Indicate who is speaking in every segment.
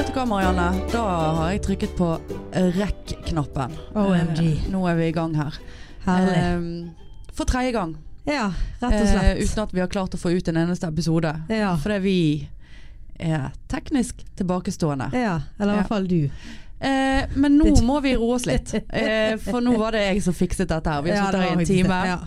Speaker 1: uker, Marianne, da har jeg trykket på rekk-knappen.
Speaker 2: OMG.
Speaker 1: Eh, Nå er vi i gang her.
Speaker 2: Herlig.
Speaker 1: Eh, For tredje gang.
Speaker 2: Ja, rett og
Speaker 1: Eh,
Speaker 2: slett.
Speaker 1: uten at vi har klart å få ut en eneste episode.
Speaker 2: Ja.
Speaker 1: Fordi vi er teknisk tilbakestående.
Speaker 2: ja. Eller i
Speaker 1: Ja.
Speaker 2: hvert fall du.
Speaker 1: Eh, men nå må vi roe oss litt. Eh, for nå var det jeg som fikset dette her. Vi har
Speaker 2: Ja,
Speaker 1: sittet her
Speaker 2: det
Speaker 1: i
Speaker 2: var
Speaker 1: en
Speaker 2: faktisk det.
Speaker 1: time.
Speaker 2: Ja.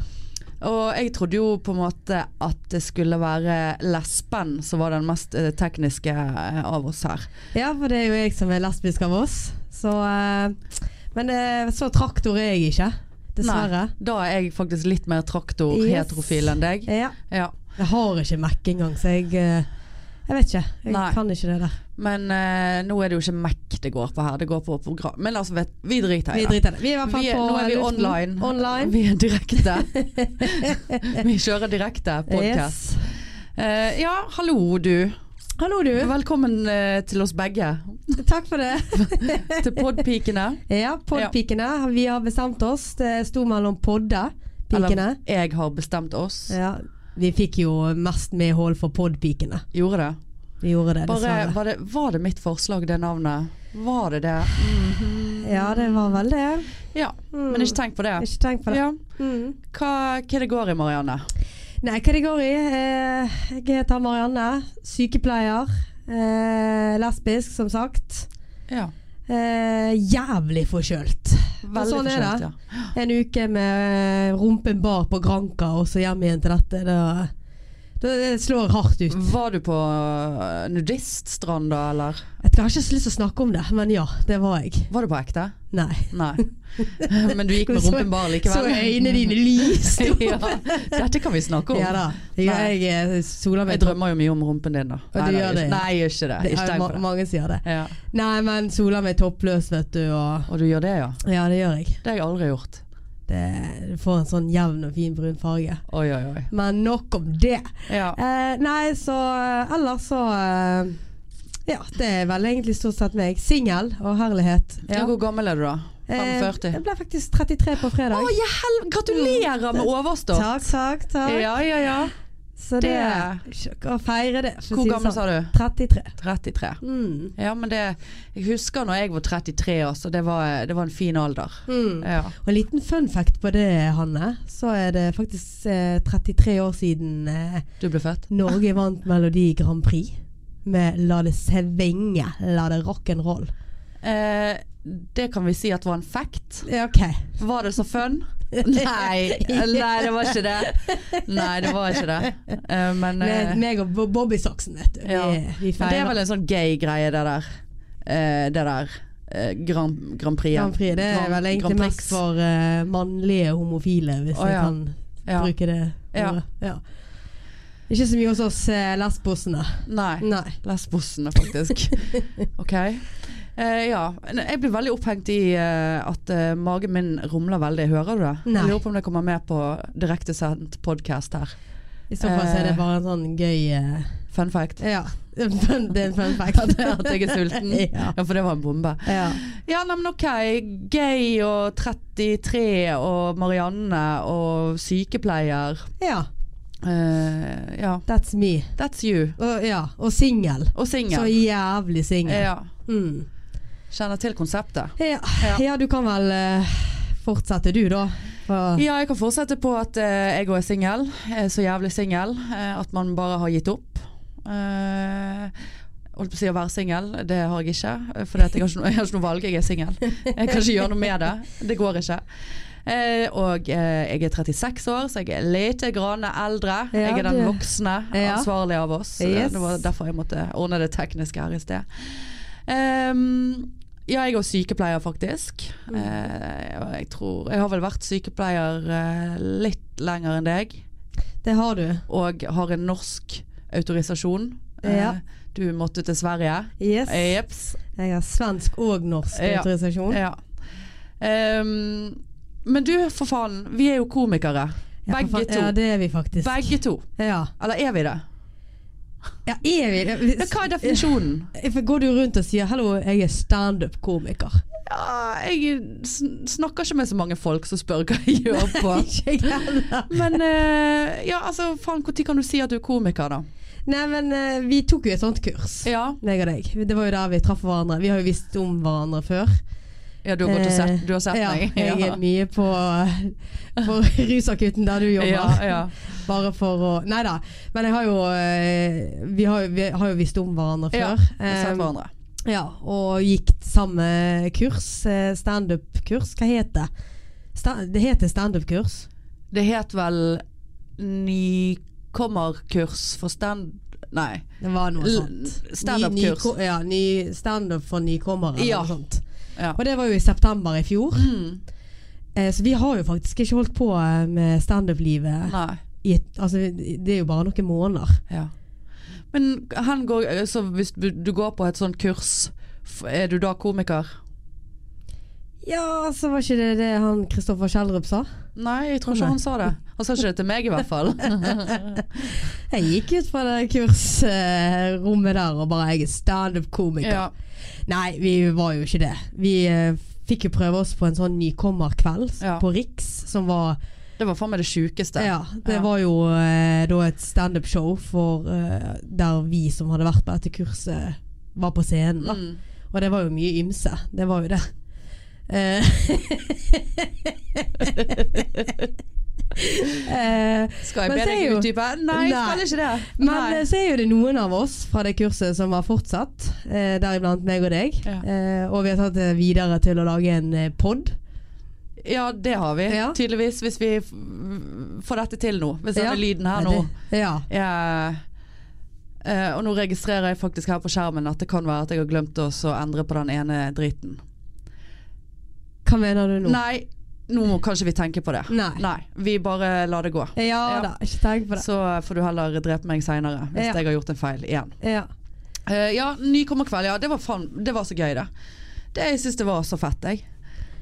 Speaker 1: Og jeg trodde jo på en måte at det skulle være lesben som var den mest eh, tekniske eh, av oss her.
Speaker 2: ja, for det er jo jeg som er lesbisk av oss. Så eh, Men eh, så traktor er jeg ikke. Dessverre.
Speaker 1: Nei, da er jeg faktisk litt mer
Speaker 2: Yes.
Speaker 1: traktor-heterofil enn deg.
Speaker 2: Ja.
Speaker 1: Ja.
Speaker 2: Jeg har ikke Mac engang, så jeg eh, Jeg vet ikke. Jeg
Speaker 1: Nei.
Speaker 2: kan ikke det der.
Speaker 1: Men eh, nå er det jo ikke Mac det går på her, det går på program. Men altså, vet, vi driter
Speaker 2: Vi
Speaker 1: i det.
Speaker 2: driter i det. Vi er i hvert fall
Speaker 1: Vi er-
Speaker 2: på
Speaker 1: nå er vi
Speaker 2: luften.
Speaker 1: online.
Speaker 2: online.
Speaker 1: Vi er direkte. vi kjører direkte podkast.
Speaker 2: Yes.
Speaker 1: ja, hallo du.
Speaker 2: Hallo, du.
Speaker 1: Velkommen eh, til oss begge.
Speaker 2: Takk for det.
Speaker 1: Til podpikene.
Speaker 2: Ja, podpikene. Vi har bestemt oss. Det sto mellom poddepikene.
Speaker 1: Eller jeg har bestemt oss.
Speaker 2: Ja, vi fikk jo mest medhold for podpikene.
Speaker 1: Gjorde det.
Speaker 2: Vi gjorde det,
Speaker 1: Bare,
Speaker 2: dessverre.
Speaker 1: var, det, var det mitt forslag, det navnet? Var det det?
Speaker 2: Ja, det var vel det.
Speaker 1: Ja,
Speaker 2: Mm.
Speaker 1: men ikke tenk på det.
Speaker 2: Ikke tenk på det.
Speaker 1: Ja.
Speaker 2: Mm.
Speaker 1: Hva, hva det går i, Marianne?
Speaker 2: Nei, hva det går i? Eh, Jeg heter Marianne. Sykepleier. Eh, lesbisk, som sagt.
Speaker 1: Ja,
Speaker 2: Eh, jævlig forkjølt.
Speaker 1: veldig
Speaker 2: sånn er
Speaker 1: forskjellig,
Speaker 2: det.
Speaker 1: ja.
Speaker 2: En uke med eh, rumpen bar på Granka, og så hjem igjen til dette. Det, det slår hardt ut.
Speaker 1: Var du på øh, nudiststrand da, eller?
Speaker 2: Jeg har ikke så lyst til å snakke om det, men ja, det var jeg.
Speaker 1: Var du på ekte?
Speaker 2: Nei.
Speaker 1: Nei. Men du gikk med
Speaker 2: Så-
Speaker 1: rumpen bar
Speaker 2: Så
Speaker 1: likevel?
Speaker 2: øynene dine lyste opp.
Speaker 1: ja, dette kan vi snakke om.
Speaker 2: Ja da. Jeg, jeg eh, soler
Speaker 1: Jeg
Speaker 2: meg
Speaker 1: drømmer jo mye om rumpen din, da.
Speaker 2: du
Speaker 1: Nei,
Speaker 2: gjør det, ja.
Speaker 1: Nei, gjør ikke det.
Speaker 2: Det
Speaker 1: Ikke
Speaker 2: er
Speaker 1: tenk
Speaker 2: ma
Speaker 1: på det.
Speaker 2: mange som gjør det.
Speaker 1: Ja.
Speaker 2: Nei, men soler meg toppløs, vet du. Og
Speaker 1: Og du gjør det, ja?
Speaker 2: ja, det gjør jeg.
Speaker 1: Det har jeg aldri gjort.
Speaker 2: Det du får en sånn jevn og fin brun farge.
Speaker 1: Oi, oi, oi.
Speaker 2: Men nok om det.
Speaker 1: Ja.
Speaker 2: Eh, nei, så eh, ellers så eh, Ja, det er vel egentlig stort sett meg. Singel og herlighet. Ja.
Speaker 1: Hvor gammel er du, da?
Speaker 2: Eh,
Speaker 1: 45?
Speaker 2: Jeg ble faktisk 33 på
Speaker 1: Å,
Speaker 2: fredag.
Speaker 1: ja, hel- Gratulerer med overstått!
Speaker 2: takk, takk, takk.
Speaker 1: Ja, ja, ja.
Speaker 2: Så det Å feire det. for å
Speaker 1: Hvor
Speaker 2: si det
Speaker 1: gammel sa
Speaker 2: sånn.
Speaker 1: du?
Speaker 2: 33.
Speaker 1: 33.
Speaker 2: Mm.
Speaker 1: Ja, men det Jeg husker når jeg var 33 år, så det var, eh, det var en fin alder.
Speaker 2: Mm.
Speaker 1: Ja.
Speaker 2: Og en liten fun fact på det, Hanne. Så er det faktisk eh, 33 år siden eh,
Speaker 1: Du ble født?
Speaker 2: Norge vant Melodi Grand Prix med 'La det svinge', 'La det rock'n'roll'.
Speaker 1: Eh, det kan vi si at var en fact.
Speaker 2: Ja, OK.
Speaker 1: Var det så fun? Nei, nei, det var ikke det. Nei, det var ikke det. Eh, men eh,
Speaker 2: Med meg og Bo- Bobbysoksen, vet du.
Speaker 1: Ja.
Speaker 2: Vi, vi
Speaker 1: men det er
Speaker 2: feirer
Speaker 1: vel en sånn gay greie, det der. Eh, det der eh, Grand, Grand Prix.
Speaker 2: Grand Prix. Det er
Speaker 1: Grand-
Speaker 2: vel egentlig
Speaker 1: Grand Prix.
Speaker 2: mest for eh, mannlige homofile, hvis
Speaker 1: Å,
Speaker 2: jeg
Speaker 1: ja.
Speaker 2: kan
Speaker 1: ja.
Speaker 2: bruke det
Speaker 1: Ja.
Speaker 2: ordet. Ja. Ikke så mye hos oss eh, lesbosene.
Speaker 1: Nei.
Speaker 2: Nei.
Speaker 1: Lesbosene, faktisk. Ok. Eh, ja. Nei, Jeg blir veldig opphengt i eh, at eh, magen min rumler veldig. Hører du det?
Speaker 2: Nei.
Speaker 1: Jeg lurer på om det kommer med på direktesendt podkast her.
Speaker 2: I så fall så er det
Speaker 1: Eh.
Speaker 2: bare en sånn gøy eh,
Speaker 1: Fun fact.
Speaker 2: Ja. Det er en fun fact.
Speaker 1: At, at jeg er sulten.
Speaker 2: ja.
Speaker 1: Ja, for det var en bombe.
Speaker 2: Ja.
Speaker 1: Ja, nei, men ok. Gay og 33 og Marianne og sykepleier.
Speaker 2: ja.
Speaker 1: Eh, ja.
Speaker 2: That's me.
Speaker 1: That's you.
Speaker 2: Og, ja, og singel.
Speaker 1: Og
Speaker 2: Så
Speaker 1: singel.
Speaker 2: jævlig singel.
Speaker 1: Ja.
Speaker 2: Mm.
Speaker 1: Kjenner til konseptet.
Speaker 2: Ja.
Speaker 1: Ja.
Speaker 2: ja, du kan vel eh, fortsette du, da. For,
Speaker 1: Ja, jeg kan fortsette på at eh, jeg òg er singel. Jeg er Så jævlig singel eh, at man bare har gitt opp. Eh, holdt på å si å være singel, det har jeg ikke. For jeg, har ikke noe- jeg har ikke noe valg, jeg er singel. Jeg kan ikke gjøre noe med det. Det går ikke. Eh, og eh, jeg er 36 år, så jeg er lite grann eldre. jeg er den
Speaker 2: det-
Speaker 1: voksne
Speaker 2: Ja.
Speaker 1: ansvarlige av oss.
Speaker 2: Yes.
Speaker 1: Det var derfor jeg måtte ordne det tekniske her i sted. Ehm, ja, jeg er også sykepleier, faktisk.
Speaker 2: Mm.
Speaker 1: Eh, og jeg tror Jeg har vel vært sykepleier eh, litt lenger enn deg.
Speaker 2: Det har du.
Speaker 1: Og har en norsk autorisasjon.
Speaker 2: Ja.
Speaker 1: Eh, du måtte til Sverige.
Speaker 2: Yes.
Speaker 1: Jeps.
Speaker 2: Jeg har svensk og norsk
Speaker 1: Ja. Eh,
Speaker 2: autorisasjon.
Speaker 1: Ja. Ehm, men du, for faen. Vi er jo komikere.
Speaker 2: Ja,
Speaker 1: Begge
Speaker 2: for faen.
Speaker 1: to.
Speaker 2: Ja, det er vi faktisk.
Speaker 1: Begge to.
Speaker 2: Ja.
Speaker 1: Eller er vi det?
Speaker 2: ja, er vi Eh,
Speaker 1: Ja, hva er definisjonen?
Speaker 2: For Går du rundt og sier 'hallo, jeg er standup-komiker'?
Speaker 1: Ja, jeg sn- snakker ikke med så mange folk som spør hva jeg gjør på.
Speaker 2: Ikke jeg heller.
Speaker 1: Men eh, ja, altså faen, når kan du si at du er komiker, da?
Speaker 2: Nei, men eh, vi tok jo et sånt kurs.
Speaker 1: Ja,
Speaker 2: Meg og deg. Det var jo der vi traff hverandre. Vi har jo visst om hverandre før.
Speaker 1: ja du har gått og sett, du har sett
Speaker 2: ja,
Speaker 1: meg.
Speaker 2: Jeg er mye på, eh, på rusakutten der du jobber.
Speaker 1: ja, ja.
Speaker 2: Bare for å Nei da. Men jeg har jo eh, Vi har, jo- vi har jo visst om hverandre
Speaker 1: Ja,
Speaker 2: før.
Speaker 1: Vi har
Speaker 2: Eh,
Speaker 1: sett hverandre.
Speaker 2: ja, og gikk samme kurs. eh, Standup-kurs. Hva heter det? Sta- Det heter standup-kurs.
Speaker 1: Det het vel nykommerkurs for stand... Nei.
Speaker 2: Det var noe
Speaker 1: L-
Speaker 2: sånt.
Speaker 1: standup-kurs.
Speaker 2: Ny- ny- Ja, ny standup for nykommere. eller
Speaker 1: Ja.
Speaker 2: noe sånt.
Speaker 1: Ja.
Speaker 2: Og det var jo i september i fjor.
Speaker 1: Mm,
Speaker 2: Eh, Så vi har jo faktisk ikke holdt på eh, med standup-livet.
Speaker 1: nei.
Speaker 2: i et- Altså, det er jo bare noen måneder.
Speaker 1: Ja. Men han går, så hvis du du går på et sånt kurs, f- er du da komiker?
Speaker 2: Ja, så var ikke det det han Kristoffer Kjellrup sa?
Speaker 1: Nei, jeg tror ikke
Speaker 2: Nei.
Speaker 1: han sa det. Han sa ikke det til meg i hvert fall.
Speaker 2: Jeg gikk ut fra det kursrommet der og bare Jeg er standup-komiker.
Speaker 1: ja.
Speaker 2: Nei, vi var jo ikke det. Vi eh, fikk jo prøve oss på en sånn nykommerkveld
Speaker 1: Ja.
Speaker 2: på Riks, som var
Speaker 1: Det var faen meg det sjukeste.
Speaker 2: Ja, det
Speaker 1: Ja.
Speaker 2: var jo eh, da et standup-show for eh, der vi som hadde vært på dette kurset, var på scenen. Da.
Speaker 1: Mm.
Speaker 2: Og det var jo mye ymse. Det var jo det. Eh, eh,
Speaker 1: Skal jeg
Speaker 2: Men
Speaker 1: be
Speaker 2: så er
Speaker 1: deg
Speaker 2: jo-
Speaker 1: utdype? Nei, jeg skal
Speaker 2: Nei.
Speaker 1: ikke det.
Speaker 2: men
Speaker 1: Nei.
Speaker 2: eh, så er jo det noen av oss fra det kurset som har fortsatt, eh, deriblant meg og deg.
Speaker 1: Ja.
Speaker 2: Eh, og vi har tatt det videre til å lage en eh, pod.
Speaker 1: Ja, det har vi.
Speaker 2: Ja.
Speaker 1: Tydeligvis, hvis vi f- får dette til nå. Hvis
Speaker 2: Ja.
Speaker 1: denne lyden her nå
Speaker 2: Nei, Eh, det- Ja.
Speaker 1: er Eh, og nå registrerer jeg faktisk her på skjermen at det kan være at jeg har glemt å så endre på den ene driten.
Speaker 2: Hva mener du nå?
Speaker 1: Nei, nå må kanskje vi tenke på det.
Speaker 2: Nei.
Speaker 1: Nei, vi bare lar det gå.
Speaker 2: Ja,
Speaker 1: Ja.
Speaker 2: da, ikke tenk på det.
Speaker 1: Så får du heller drepe meg seinere hvis
Speaker 2: Ja.
Speaker 1: jeg har gjort en feil igjen.
Speaker 2: Ja.
Speaker 1: Eh, ja, nykommerkveld. Ja, det var, faen, det var så gøy, det. det jeg syns det var så fett, jeg.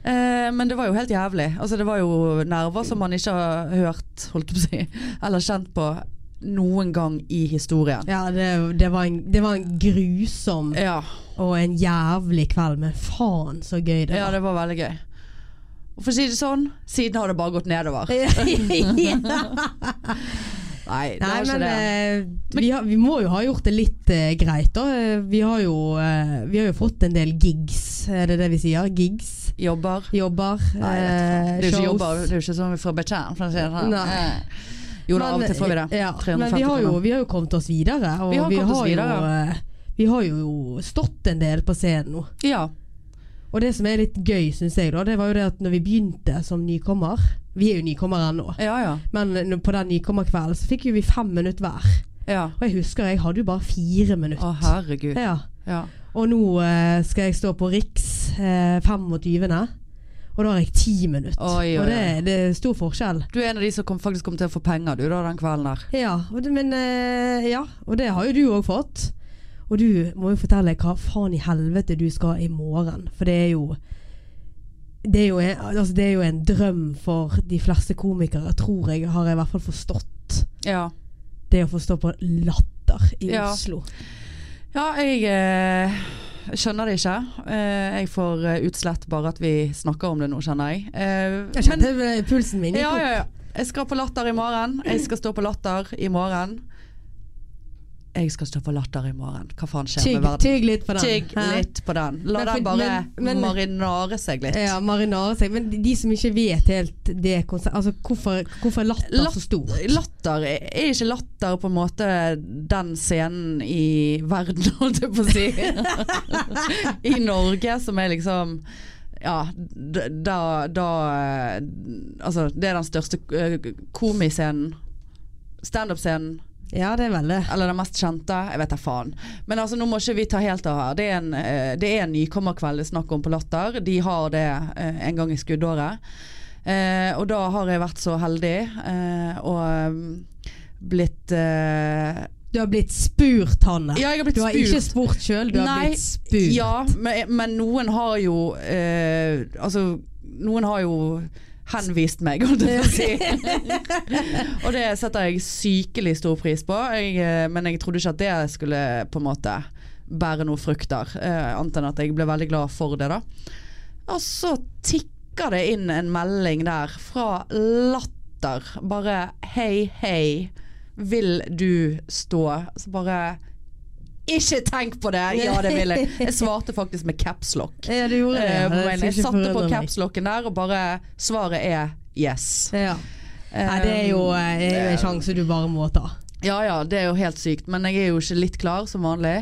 Speaker 1: Eh, men det var jo helt jævlig. Altså, det var jo nerver som man ikke har hørt, holdt jeg på å si, eller kjent på noen gang i historien.
Speaker 2: Ja, det, det, var en, det var en grusom
Speaker 1: Ja,
Speaker 2: og en jævlig kveld, men faen så gøy det
Speaker 1: ja
Speaker 2: var.
Speaker 1: det var veldig gøy. Og for å si det sånn, siden har det bare gått nedover. Nei, det
Speaker 2: Nei,
Speaker 1: har ikke
Speaker 2: men
Speaker 1: det.
Speaker 2: eh, vi, har, vi må jo ha gjort det litt eh, greit, da. Eh, Vi har, jo, eh, vi har jo fått en del gigs, er det det vi sier? Gigs.
Speaker 1: Jobber.
Speaker 2: Jobber.
Speaker 1: Nei, jeg vet
Speaker 2: eh,
Speaker 1: Det er jo ikke
Speaker 2: shows.
Speaker 1: jobber, det er jo ikke sånn vi får betjent, for å si det sånn.
Speaker 2: Nei.
Speaker 1: Eh. Jo da, av og til får vi det.
Speaker 2: Ja, men
Speaker 1: 350
Speaker 2: vi har, jo,
Speaker 1: kroner.
Speaker 2: vi har jo kommet oss videre. Og
Speaker 1: Vi
Speaker 2: vi
Speaker 1: har
Speaker 2: har,
Speaker 1: kommet oss
Speaker 2: jo,
Speaker 1: videre.
Speaker 2: eh, vi har jo stått en del på scenen nå.
Speaker 1: Ja.
Speaker 2: Og det som er litt gøy, syns jeg, da, det var jo det at når vi begynte som nykommer Vi er jo nykommere ennå,
Speaker 1: Ja, ja.
Speaker 2: men eh, på den nykommerkvelden så fikk jo vi fem minutter hver.
Speaker 1: ja.
Speaker 2: Og jeg husker jeg hadde jo bare fire
Speaker 1: Å,
Speaker 2: minutter.
Speaker 1: herregud.
Speaker 2: Ja.
Speaker 1: Ja.
Speaker 2: Og nå eh, skal jeg stå på Riks eh, 25. Og da har jeg ti minutter.
Speaker 1: Oi, oi,
Speaker 2: Og det, det er stor forskjell.
Speaker 1: Du er en av de som kom, faktisk kom til å få penger du da, den kvelden der.
Speaker 2: Ja, og det, men eh, Ja, og det har jo du òg fått. Og du må jo fortelle hva faen i helvete du skal i morgen. For det er jo det er jo, en, altså det er jo en drøm for de fleste komikere, tror jeg, har jeg i hvert fall forstått.
Speaker 1: Ja.
Speaker 2: Det å få stå på Latter i
Speaker 1: Ja.
Speaker 2: Oslo.
Speaker 1: Ja, jeg eh, skjønner det ikke. Eh, jeg får eh, utslett bare at vi snakker om det nå, kjenner jeg. Eh,
Speaker 2: Jeg kjente eh, pulsen min
Speaker 1: men,
Speaker 2: gikk
Speaker 1: ja,
Speaker 2: opp.
Speaker 1: ja, ja. Jeg skal på Latter i morgen. Jeg skal stå på Latter i morgen. Jeg skal stå på Latter i morgen. Hva faen skjer
Speaker 2: Tygg,
Speaker 1: med verden?
Speaker 2: tygg litt på den.
Speaker 1: Tygg
Speaker 2: Hæ?
Speaker 1: litt på den. La
Speaker 2: Men for-
Speaker 1: den bare
Speaker 2: men- men-
Speaker 1: marinare seg litt.
Speaker 2: Ja, marinare seg. Men de- de som ikke vet helt det konseptet altså, hvorfor, hvorfor er latter
Speaker 1: Latt-
Speaker 2: så stor?
Speaker 1: Latter er er ikke latter på en måte den scenen i verden, holdt jeg på å si. I Norge, som er liksom Ja, d- da, da eh, Altså, det er den største eh, komiscenen. Standup-scenen.
Speaker 2: Ja, det er vel det.
Speaker 1: Eller den mest kjente. Jeg vet da faen. Men altså, nå må ikke vi ta helt av her. Det er en, eh, det er en nykommerkveld det er snakk om på Latter. De har det eh, en gang i skuddåret. Eh, og da har jeg vært så heldig eh, og mm, blitt eh,
Speaker 2: Du har blitt spurt, Hanne.
Speaker 1: Ja, jeg har blitt
Speaker 2: du har
Speaker 1: spurt.
Speaker 2: ikke spurt sjøl, du
Speaker 1: Nei,
Speaker 2: har blitt spurt.
Speaker 1: Ja, men, men noen har jo eh, Altså, noen har jo henvist meg, holdt jeg på å si. og det setter jeg sykelig stor pris på, jeg, eh, men jeg trodde ikke at det skulle på en måte bære noe frukter. Eh, annet enn at jeg ble veldig glad for det, da. Og så tikker det inn en melding der fra latter. Bare hei, hei. Vil du stå? Så bare Ikke tenk på det! Ja, det vil jeg. Jeg svarte faktisk med capslock.
Speaker 2: Ja, du gjorde det.
Speaker 1: Eh, på mailen.
Speaker 2: det
Speaker 1: jeg
Speaker 2: skulle ikke
Speaker 1: satte på
Speaker 2: forundre meg.
Speaker 1: capslocken der, og bare svaret er yes.
Speaker 2: Ja. Nei, det er jo, eh, er jo en sjanse du bare må ta.
Speaker 1: Ja ja, det er jo helt sykt. Men jeg er jo ikke litt klar, som vanlig.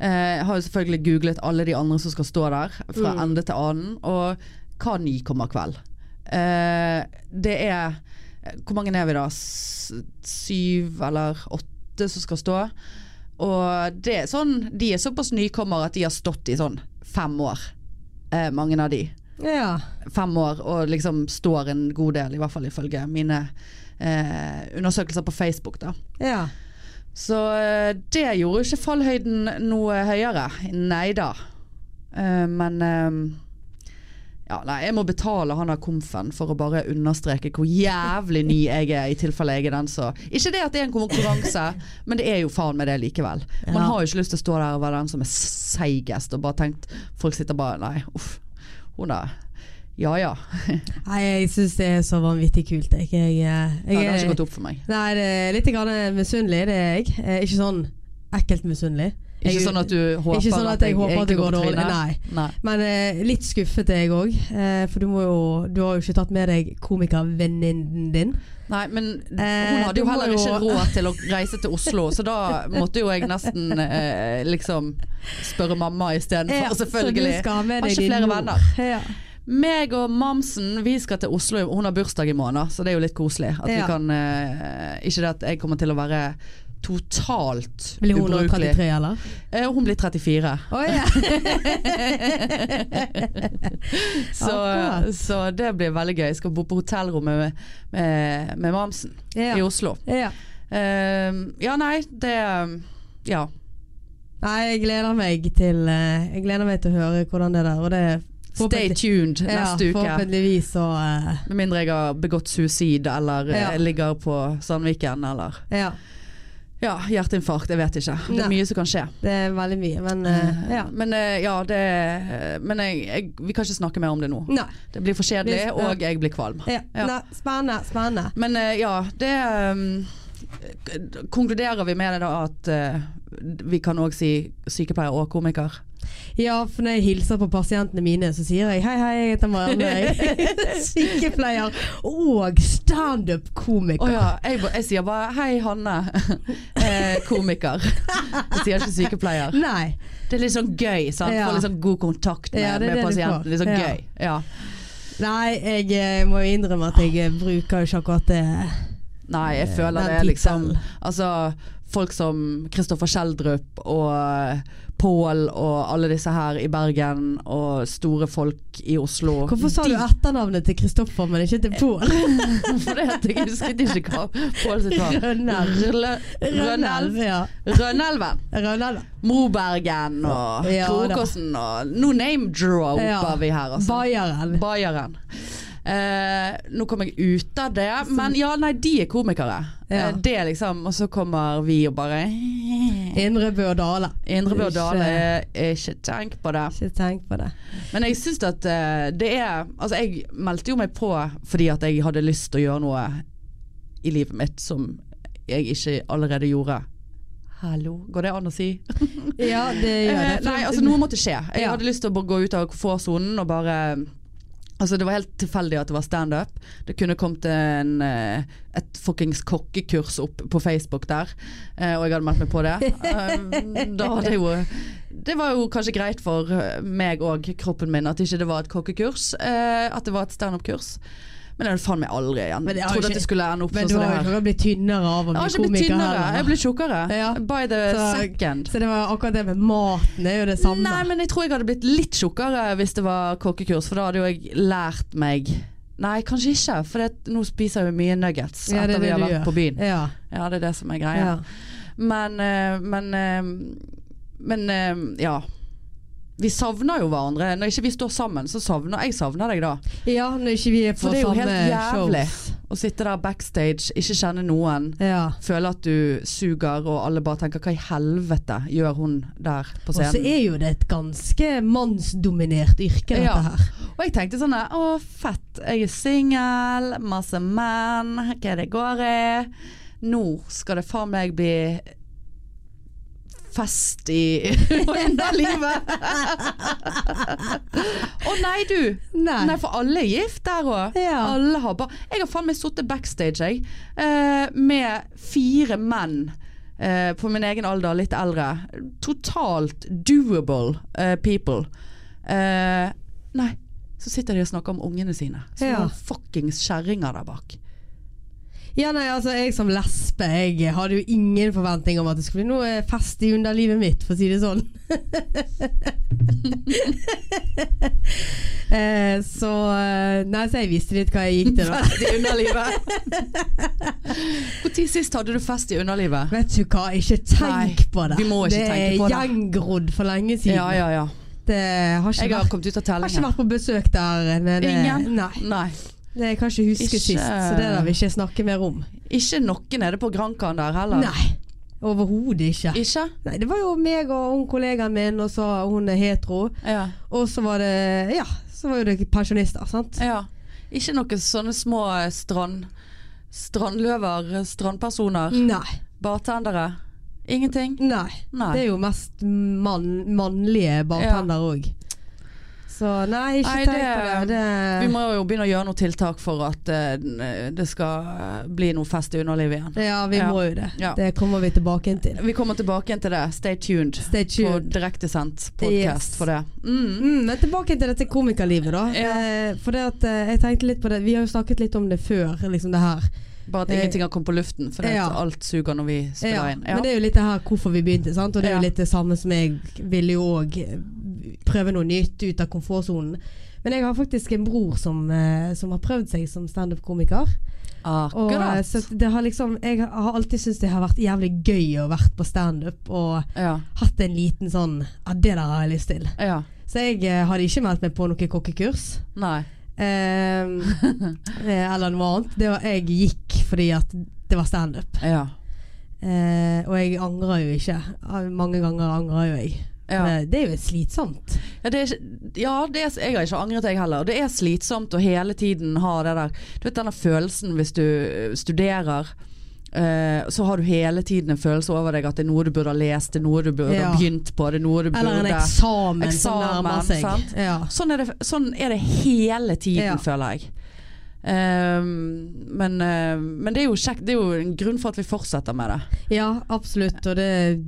Speaker 1: Eh, Jeg har jo selvfølgelig googlet alle de andre som skal stå der, fra
Speaker 2: Mm.
Speaker 1: ende til annen. Og hva ni kommer kveld? Eh, det er Hvor mange er vi da? S syv eller åtte som skal stå? Og det er sånn, de er såpass nykommere at de har stått i sånn fem år. Eh, mange av de
Speaker 2: Ja.
Speaker 1: fem år og liksom står en god del, i hvert fall ifølge mine eh, undersøkelser på Facebook. da.
Speaker 2: ja.
Speaker 1: Så eh, det gjorde ikke fallhøyden noe høyere. Nei da. Eh, men eh, ja, nei, jeg må betale han der komfen for å bare understreke hvor jævlig ny jeg er, i tilfelle jeg er den som Ikke det at det er en konkurranse, men det er jo faen meg det likevel. Man
Speaker 2: Ja.
Speaker 1: har jo ikke lyst til å stå der og være den som er seigest og bare tenkt Folk sitter bare Nei, uff. Hun der. Ja ja.
Speaker 2: Nei, jeg syns det er så vanvittig kult. Jeg, jeg, eh,
Speaker 1: ja.
Speaker 2: jeg
Speaker 1: Det har
Speaker 2: er-
Speaker 1: ikke gått opp for meg.
Speaker 2: Nei, det er litt grann misunnelig, det er jeg. Eh, Ikke sånn ekkelt misunnelig.
Speaker 1: Ikke sånn at du håper
Speaker 2: ikke sånn at jeg håper at det
Speaker 1: egentlig på
Speaker 2: går dårlig.
Speaker 1: trynet?
Speaker 2: Nei.
Speaker 1: Nei.
Speaker 2: Men eh, litt skuffet er jeg òg. Eh, for du, må jo, du har jo ikke tatt med deg komikervenninnen din.
Speaker 1: Nei, men
Speaker 2: Eh,
Speaker 1: hun hadde jo
Speaker 2: du må
Speaker 1: heller ikke
Speaker 2: jo-
Speaker 1: råd til å reise til Oslo, så da måtte jo jeg nesten eh, liksom spørre mamma
Speaker 2: Ja,
Speaker 1: istedenfor,
Speaker 2: Så du
Speaker 1: selvfølgelig.
Speaker 2: skal ha med
Speaker 1: Har
Speaker 2: deg
Speaker 1: ikke
Speaker 2: din
Speaker 1: flere
Speaker 2: mor.
Speaker 1: venner.
Speaker 2: Ja.
Speaker 1: Meg og mamsen, vi skal til Oslo. i- Hun har bursdag i måned, så det er jo litt koselig. At vi
Speaker 2: Ja.
Speaker 1: kan eh, Ikke det at jeg kommer til å være totalt
Speaker 2: Blir hun
Speaker 1: ubrukelig.
Speaker 2: 133, eller?
Speaker 1: Eh, hun blir 34.
Speaker 2: Å ja.
Speaker 1: Så,
Speaker 2: Akkurat.
Speaker 1: så det blir veldig gøy. Jeg skal bo på hotellrommet med, med, med mamsen
Speaker 2: ja.
Speaker 1: i Oslo.
Speaker 2: ja.
Speaker 1: Eh, ja, nei, det Ja.
Speaker 2: Nei, jeg gleder meg til eh, Jeg gleder meg til å høre hvordan det er der. Og det er
Speaker 1: Stay
Speaker 2: forhåpentlig-
Speaker 1: tuned neste
Speaker 2: ja,
Speaker 1: uke.
Speaker 2: Forhåpentligvis så eh,
Speaker 1: Med mindre jeg har begått suicid eller eh,
Speaker 2: Ja.
Speaker 1: ligger på Sandviken eller
Speaker 2: Ja.
Speaker 1: ja, hjerteinfarkt. Jeg vet ikke. Det er
Speaker 2: Nei.
Speaker 1: mye som kan skje.
Speaker 2: Det er veldig mye, men eh, ja.
Speaker 1: Men, eh, ja, det, eh, men jeg, jeg, vi kan ikke snakke mer om det nå.
Speaker 2: Nei.
Speaker 1: Det blir for kjedelig,
Speaker 2: Hvis- ja.
Speaker 1: og jeg blir kvalm.
Speaker 2: Ja.
Speaker 1: Ja.
Speaker 2: Nei, spennende, spennende.
Speaker 1: Men eh, ja, det eh, Konkluderer vi med det da at eh, vi kan òg si sykepleier og komiker?
Speaker 2: Ja, for når jeg hilser på pasientene mine, så sier jeg hei, hei, jeg heter Marianne. Jeg er sykepleier og
Speaker 1: Å
Speaker 2: standup-komiker.
Speaker 1: ja, jeg, ba- jeg sier bare 'hei, Hanne'. eh, komiker. Jeg sier ikke sykepleier.
Speaker 2: Nei.
Speaker 1: Det er litt sånn gøy, sant?
Speaker 2: Ja.
Speaker 1: Få litt sånn god kontakt med,
Speaker 2: Ja, det er
Speaker 1: med
Speaker 2: det du
Speaker 1: pasienten.
Speaker 2: får.
Speaker 1: Litt sånn
Speaker 2: Ja.
Speaker 1: gøy. Ja.
Speaker 2: Nei, jeg eh, må jo innrømme at jeg eh, bruker jo ikke akkurat eh, det.
Speaker 1: Nei, jeg føler
Speaker 2: den
Speaker 1: det er liksom
Speaker 2: tittelen.
Speaker 1: Altså, folk som Kristoffer Schjelderup og Pål og alle disse her i Bergen, og store folk i Oslo.
Speaker 2: Hvorfor sa du
Speaker 1: De-
Speaker 2: etternavnet til Kristoffer, men ikke til Pål?
Speaker 1: For det at jeg husket ikke hva Pål sitt var.
Speaker 2: Rønnelv.
Speaker 1: Rølle- Rønnelv.
Speaker 2: Rønnelv, ja.
Speaker 1: Rønnelven.
Speaker 2: Rønnelv.
Speaker 1: Mobergen og
Speaker 2: Ja, da.
Speaker 1: Krokosen og No name draw
Speaker 2: Ja.
Speaker 1: oppe vi her, altså.
Speaker 2: Bayeren.
Speaker 1: Bayeren. Eh, nå kom jeg ut av det, men ja, nei, de er komikere.
Speaker 2: Ja.
Speaker 1: Eh, det er liksom, Og så kommer vi og bare
Speaker 2: Indre Bø og Dale.
Speaker 1: Indre Bjørn Dale, eh, ikke tenk på det.
Speaker 2: Ikke tenk på det.
Speaker 1: Men jeg syns at eh, det er Altså, jeg meldte jo meg på fordi at jeg hadde lyst til å gjøre noe i livet mitt som jeg ikke allerede gjorde. Hallo, går det an å si?
Speaker 2: Ja, det gjør det.
Speaker 1: Eh,
Speaker 2: For-
Speaker 1: nei, altså noe måtte skje. Jeg
Speaker 2: Ja.
Speaker 1: hadde lyst til å bare gå ut av komfortsonen og bare Altså Det var helt tilfeldig at det var standup. Det kunne kommet en, eh, et fuckings kokkekurs opp på Facebook der, eh, og jeg hadde meldt meg på det. Eh, Da hadde jeg jo Det var jo kanskje greit for eh, meg og kroppen min at ikke det var et kokkekurs, eh, at det var et standup-kurs. Men det hadde faen meg aldri igjen.
Speaker 2: Men det
Speaker 1: Jeg
Speaker 2: har jo
Speaker 1: trodde at
Speaker 2: ikke-
Speaker 1: det skulle ende opp
Speaker 2: Men
Speaker 1: sånn
Speaker 2: du
Speaker 1: som det
Speaker 2: har
Speaker 1: her.
Speaker 2: jo ikke blitt tynnere
Speaker 1: Jeg
Speaker 2: av å bli
Speaker 1: har ikke blitt
Speaker 2: komiker
Speaker 1: tynnere, jeg
Speaker 2: heller.
Speaker 1: ble tjukkere.
Speaker 2: Ja.
Speaker 1: By the
Speaker 2: Så-
Speaker 1: second.
Speaker 2: Så det var akkurat det med maten er jo det samme.
Speaker 1: Nei, men jeg tror jeg hadde blitt litt tjukkere hvis det var kokkekurs, for da hadde jo jeg lært meg Nei, kanskje ikke, for det, nå spiser jeg jo mye nuggets
Speaker 2: Ja, det er
Speaker 1: etter vi
Speaker 2: det
Speaker 1: har
Speaker 2: du
Speaker 1: vært
Speaker 2: gjør.
Speaker 1: på byen.
Speaker 2: ja.
Speaker 1: Ja, det er det som er
Speaker 2: Ja.
Speaker 1: greia. Men, eh, men eh, Men eh, ja. Vi savner jo hverandre. Når ikke vi står sammen, så savner jeg savner deg da.
Speaker 2: ja, når ikke vi er på
Speaker 1: For det er jo
Speaker 2: samme
Speaker 1: helt jævlig.
Speaker 2: shows.
Speaker 1: Å sitte der backstage, ikke kjenne noen.
Speaker 2: Ja.
Speaker 1: Føle at du suger, og alle bare tenker 'hva i helvete gjør hun der på
Speaker 2: Og så
Speaker 1: scenen'?
Speaker 2: er jo det et ganske mannsdominert yrke, dette
Speaker 1: Ja.
Speaker 2: her.
Speaker 1: Og jeg tenkte sånn der, Å, fett. Jeg er singel, masse menn. Hva er det går i? nå skal det faen meg bli fest i livet. Å nei, du!
Speaker 2: Nei.
Speaker 1: Nei, for alle er gift der òg.
Speaker 2: Ja.
Speaker 1: Alle har barn. Jeg har faen meg sittet backstage, jeg, eh, med fire menn. eh, på min egen alder, litt eldre. Totalt doable eh, people. Eh, nei, så sitter de og snakker om ungene sine. Som
Speaker 2: Ja.
Speaker 1: noen fuckings kjerringer der bak.
Speaker 2: Ja, nei, altså, jeg som lesbe jeg hadde jo ingen forventning om at det skulle bli noe fest i underlivet mitt, for å si det sånn. eh, så eh, Nei, så jeg visste litt hva jeg gikk til, da.
Speaker 1: Fest i underlivet. Når sist hadde du fest i underlivet?
Speaker 2: Vet du hva, ikke tenk
Speaker 1: Nei,
Speaker 2: på det.
Speaker 1: vi må ikke
Speaker 2: det
Speaker 1: tenke på det.
Speaker 2: er gjengrodd for lenge siden.
Speaker 1: Ja, ja, ja.
Speaker 2: Det har ikke,
Speaker 1: Jeg har
Speaker 2: vært,
Speaker 1: kommet ut av
Speaker 2: har ikke
Speaker 1: tellingen.
Speaker 2: vært på besøk der. Men, eh,
Speaker 1: Ingen?
Speaker 2: Nei,
Speaker 1: Nei.
Speaker 2: det jeg kan ikke huske
Speaker 1: Ikke-
Speaker 2: sist, så det der vil ikke jeg snakke mer om.
Speaker 1: Ikke noe nede på Grankan der heller?
Speaker 2: Nei, overhodet ikke.
Speaker 1: Ikke?
Speaker 2: Nei, det var jo meg og hun kollegaen min, og så hun er hetero.
Speaker 1: Ja.
Speaker 2: Og så var det Ja, så var jo det pensjonister, sant.
Speaker 1: Ja. Ikke noen sånne små eh, strand... Strandløver, eh, strandpersoner,
Speaker 2: Nei.
Speaker 1: bartendere. Ingenting?
Speaker 2: nei. Det
Speaker 1: Nei.
Speaker 2: er jo mest mann, mannlige bartender òg. Så nei, ikke
Speaker 1: Nei,
Speaker 2: tenk
Speaker 1: det-
Speaker 2: på det.
Speaker 1: Vi
Speaker 2: det
Speaker 1: må jo begynne å gjøre noen tiltak for at eh, n- det skal eh, bli noe fest i underlivet igjen.
Speaker 2: ja, vi
Speaker 1: Ja.
Speaker 2: må jo det.
Speaker 1: Ja.
Speaker 2: Det kommer vi tilbake igjen til.
Speaker 1: Vi kommer tilbake igjen til det. Stay tuned.
Speaker 2: Stay
Speaker 1: På
Speaker 2: tuned.
Speaker 1: direktesendt podkast
Speaker 2: Yes.
Speaker 1: for det. Mm.
Speaker 2: Mm, men tilbake til dette komikerlivet, da.
Speaker 1: Ja.
Speaker 2: Eh, for det at eh, jeg tenkte litt på det Vi har jo snakket litt om det før, liksom det her.
Speaker 1: Bare at
Speaker 2: Eh,
Speaker 1: ingenting har kommet på luften, for det
Speaker 2: ja.
Speaker 1: at alt suger når vi spiller
Speaker 2: Ja,
Speaker 1: inn.
Speaker 2: Men det er jo litt det her hvorfor vi begynte, sant? og det er
Speaker 1: Ja.
Speaker 2: jo litt det samme som jeg ville jo òg eh, prøve noe nytt ut av komfortsonen. Men jeg har faktisk en bror som, eh, som har prøvd seg som standup-komiker. Og, eh,
Speaker 1: Akkurat.
Speaker 2: så det har liksom, jeg har alltid syntes det har vært jævlig gøy å vært på standup og
Speaker 1: Ja.
Speaker 2: hatt en liten sånn Ja, det der har jeg lyst til.
Speaker 1: ja.
Speaker 2: Så jeg eh, hadde ikke meldt meg på noe kokkekurs.
Speaker 1: Nei.
Speaker 2: Eh, eh, eller noe annet. Det var, jeg gikk fordi at det var standup.
Speaker 1: Ja.
Speaker 2: Eh, og jeg angrer jo ikke. Ah, Mange ganger angrer jo jeg.
Speaker 1: ja.
Speaker 2: Men Det er jo slitsomt.
Speaker 1: Ja, det er, ikke- ja det er, jeg har ikke angret jeg heller. Det er slitsomt å hele tiden ha det der Du vet denne følelsen hvis du øh, studerer. eh, så har du hele tiden en følelse over deg at det er noe du burde ha lest, det er noe du burde
Speaker 2: Ja.
Speaker 1: ha begynt på. Det er noe du
Speaker 2: Eller en
Speaker 1: burde
Speaker 2: eksamen, som
Speaker 1: Eksamen,
Speaker 2: nærmer seg.
Speaker 1: sant?
Speaker 2: Ja.
Speaker 1: sånn, er det, sånn er det hele tiden,
Speaker 2: Ja.
Speaker 1: føler jeg. Ehm, men, eh, men det er jo kjekt. Det er jo en grunn for at vi fortsetter med det.
Speaker 2: ja, absolutt. Og det,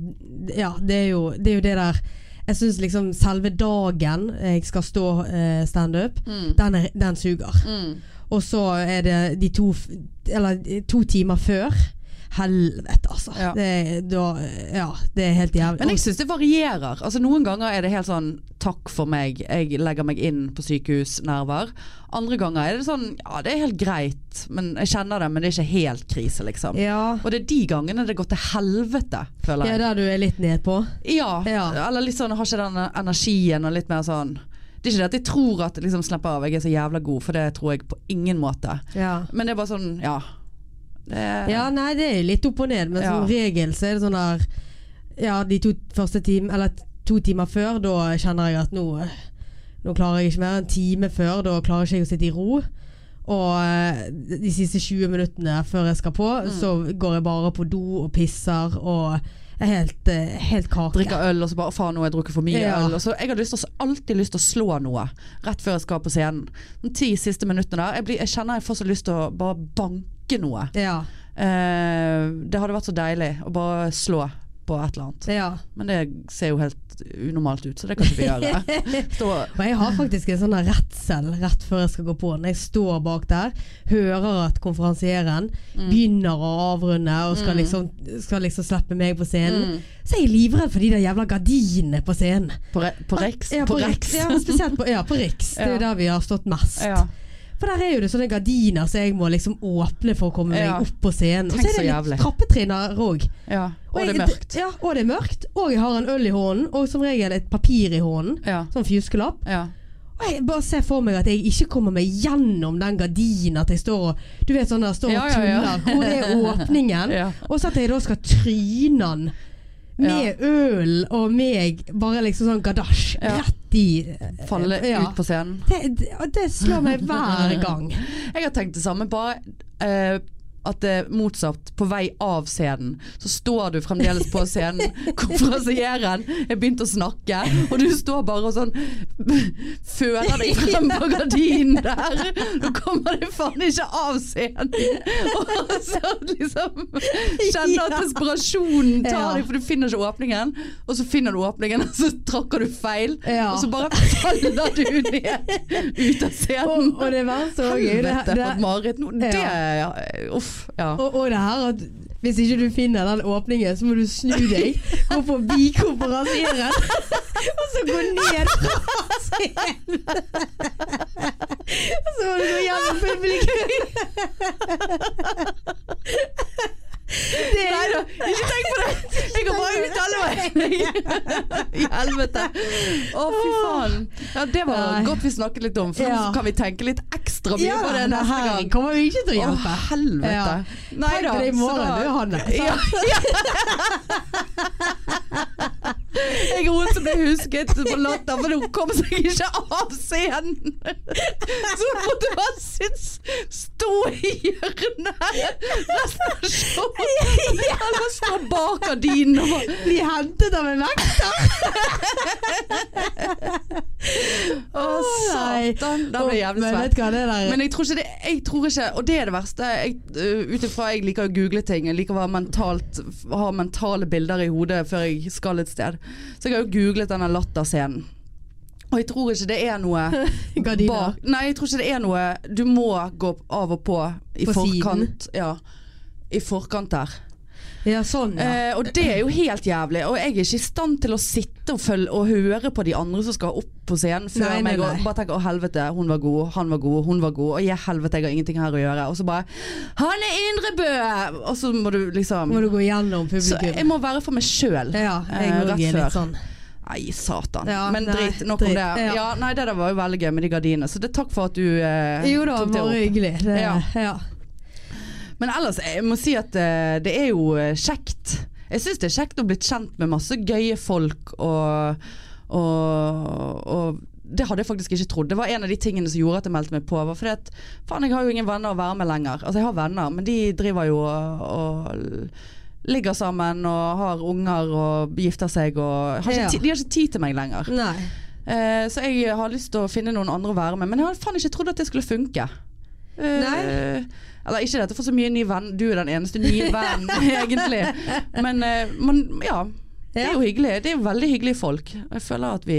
Speaker 2: ja, det, er jo, det er jo det der Jeg syns liksom selve dagen jeg skal stå eh, standup,
Speaker 1: Mm.
Speaker 2: den, er- den suger. Og så er det de to f- Eller to timer før. Helvete, altså.
Speaker 1: Ja.
Speaker 2: Det, da, ja, det er helt jævlig.
Speaker 1: Men jeg syns det varierer. Altså Noen ganger er det helt sånn 'takk for meg, jeg legger meg inn på sykehusnerver'. Andre ganger er det sånn 'ja, det er helt greit, men jeg kjenner det, men det er ikke helt krise', liksom.
Speaker 2: ja,
Speaker 1: Og det er de gangene det går til helvete, føler
Speaker 2: ja,
Speaker 1: jeg.
Speaker 2: der du er litt nedpå.
Speaker 1: Ja,
Speaker 2: Ja.
Speaker 1: Eller litt sånn har ikke den energien og litt mer sånn Det er ikke det at jeg tror at liksom, 'slapp av, jeg er så jævla god', for det tror jeg på ingen måte.
Speaker 2: Ja.
Speaker 1: Men det er bare sånn, ja. Det er,
Speaker 2: Ja, nei, det er litt opp og ned, men som regel så er det sånn der Ja, de to første time, eller to timer før, da kjenner jeg at nå Nå klarer jeg ikke mer. En time før, da klarer ikke jeg å sitte i ro. Og eh, de siste 20 minuttene før jeg skal på, så går jeg bare på do og pisser og er helt, eh, helt kake.
Speaker 1: drikker øl, og så bare faen, nå har jeg drukket for mye
Speaker 2: Ja.
Speaker 1: øl. Og så jeg har lyst til, å- alltid lyst til å slå noe rett før jeg skal på scenen. De ti siste minuttene der. Jeg, blir, jeg kjenner jeg får så lyst til å bare banke noe.
Speaker 2: Ja,
Speaker 1: Eh, det hadde vært så deilig å bare slå på et eller annet.
Speaker 2: ja.
Speaker 1: Men det ser jo helt unormalt ut, så det kan ikke vi gjøre. Stå,
Speaker 2: Og jeg har faktisk en sånn der redsel rett før jeg skal gå på. Når jeg står bak der, hører at konferansieren
Speaker 1: Mm.
Speaker 2: begynner å avrunde og skal, liksom, skal liksom slippe meg på scenen,
Speaker 1: Mm.
Speaker 2: så er jeg livredd for de der jævla gardinene på scenen.
Speaker 1: på, re, på Rex?
Speaker 2: Ja, på Riks. Ja, men spesielt på, ja, på Riks. Det er jo
Speaker 1: Ja.
Speaker 2: der vi har stått mest.
Speaker 1: Ja.
Speaker 2: For der er jo det sånne gardiner som jeg må liksom åpne for å komme meg
Speaker 1: Ja.
Speaker 2: opp på scenen. Og
Speaker 1: Tenk
Speaker 2: så er det
Speaker 1: så jævlig.
Speaker 2: litt trappetrinner òg.
Speaker 1: ja. Og det er
Speaker 2: jeg-
Speaker 1: mørkt.
Speaker 2: Ja, og det er mørkt. Og jeg har en øl i hånden, og som regel et papir i hånden.
Speaker 1: Ja.
Speaker 2: Sånn fjusklapp.
Speaker 1: ja.
Speaker 2: Og Jeg bare ser for meg at jeg ikke kommer meg gjennom den gardinen at jeg står og Du vet sånn der står og
Speaker 1: Ja, ja, ja.
Speaker 2: tuller. Hvor er åpningen?
Speaker 1: Ja.
Speaker 2: Og så at jeg da skal tryne den med øl og meg, bare liksom sånn gadasj,
Speaker 1: Ja.
Speaker 2: rett i eh,
Speaker 1: Falle
Speaker 2: Ja.
Speaker 1: ut på scenen.
Speaker 2: det, det, og det slår meg hver gang.
Speaker 1: Jeg har tenkt det samme, bare eh, at det er motsatt. På vei av scenen, så står du fremdeles på scenen. Konferansieren er begynt å snakke, og du står bare og sånn Fører deg frem på gardinen der. Nå kommer du faen ikke av scenen! Og så liksom Kjenner at
Speaker 2: Ja.
Speaker 1: desperasjonen
Speaker 2: Ja.
Speaker 1: tar deg, for du finner ikke åpningen. Og så finner du åpningen, og så trakker du feil.
Speaker 2: Ja.
Speaker 1: Og så bare faller du ned ut av scenen.
Speaker 2: Og, og det verste òg er jo det,
Speaker 1: Helvete, for et
Speaker 2: det,
Speaker 1: mareritt. nå. Det ja. eh, Uff. Ja.
Speaker 2: og, og det her at hvis ikke du finner den åpningen, så må du snu deg, gå forbi konferansieren, og så gå ned fra scenen. Og så må du gå hjem med publikum. Det er
Speaker 1: Nei da, ikke tenk på det! Jeg går bare ut alle veiene! I helvete. Å, fy faen. Ja, det var
Speaker 2: Nei.
Speaker 1: godt vi snakket litt om, for nå
Speaker 2: Ja.
Speaker 1: kan vi tenke litt ekstra mye
Speaker 2: Ja,
Speaker 1: på det
Speaker 2: men
Speaker 1: neste
Speaker 2: her
Speaker 1: gang.
Speaker 2: kommer vi ikke til
Speaker 1: Å,
Speaker 2: å hjelpe.
Speaker 1: helvete.
Speaker 2: Ja.
Speaker 1: Nei
Speaker 2: Tenk
Speaker 1: da.
Speaker 2: deg i
Speaker 1: så
Speaker 2: morgen,
Speaker 1: da-
Speaker 2: du, Hanne.
Speaker 1: Ja. ja. Jeg er hun som ble husket på latter, for hun kom seg ikke av scenen. Så hun måtte bare sitte stå i hjørnet resten av showet. Eller stå bak gardinen og bare
Speaker 2: Bli hentet av en vekter.
Speaker 1: Å,
Speaker 2: nei.
Speaker 1: satan. Da ble jeg jævlig
Speaker 2: Men
Speaker 1: svett.
Speaker 2: vet du hva det der
Speaker 1: Men jeg tror ikke det jeg tror ikke, Og det er det verste. Jeg, øh, Ut ifra jeg liker å google ting. Jeg liker å være mentalt, ha mentale bilder i hodet før jeg skal et sted. Så jeg har jo googlet denne latterscenen. Og jeg tror ikke det er noe
Speaker 2: Gardiner.
Speaker 1: bak Nei, jeg tror ikke det er noe Du må gå av og på i
Speaker 2: På siden.
Speaker 1: forkant. Ja. I forkant der.
Speaker 2: Ja, sånn,
Speaker 1: Eh,
Speaker 2: ja.
Speaker 1: og det er jo helt jævlig. Og jeg er ikke i stand til å sitte og, følge, og høre på de andre som skal opp på scenen før
Speaker 2: Nei, nei,
Speaker 1: meg.
Speaker 2: nei.
Speaker 1: Og bare tenke 'Å, helvete, hun var god, han var god, hun var god'. Og 'Jeg helvete, jeg har ingenting her å gjøre'. Og så bare 'Hanne Indrebø!' Og så må du liksom
Speaker 2: Må du gå gjennom
Speaker 1: Så
Speaker 2: publikum.
Speaker 1: jeg må være for meg sjøl.
Speaker 2: Ja, jeg
Speaker 1: Eh,
Speaker 2: òg
Speaker 1: rett
Speaker 2: er
Speaker 1: før.
Speaker 2: litt sånn.
Speaker 1: Nei, satan.
Speaker 2: Ja,
Speaker 1: Men
Speaker 2: nei,
Speaker 1: drit, nok om
Speaker 2: drit,
Speaker 1: det.
Speaker 2: ja.
Speaker 1: Ja. Nei, det der var jo veldig gøy med de gardinene. Så det takk for at du eh,
Speaker 2: Jo da,
Speaker 1: tok det
Speaker 2: bare
Speaker 1: opp.
Speaker 2: hyggelig. Det, ja.
Speaker 1: Ja. Men ellers, jeg må si at eh, det er jo eh, kjekt. Jeg syns det er kjekt å bli kjent med masse gøye folk og, og, og det hadde jeg faktisk ikke trodd. Det var en av de tingene som gjorde at jeg meldte meg på. Var fordi at faen, jeg har jo ingen venner å være med lenger. Altså, jeg har venner, men de driver jo og, og ligger sammen og har unger og gifter seg og har ikke,
Speaker 2: Ja.
Speaker 1: ti- De har ikke tid til meg lenger.
Speaker 2: Nei.
Speaker 1: Eh, så jeg har lyst til å finne noen andre å være med, men jeg hadde faen ikke trodd at det skulle funke. Eh,
Speaker 2: Nei.
Speaker 1: Eller ikke dette, for så mye ny venn. Du er den eneste nye vennen, egentlig. Men, eh, men ja. Det er jo hyggelig. Det er jo veldig hyggelige folk. Jeg føler at vi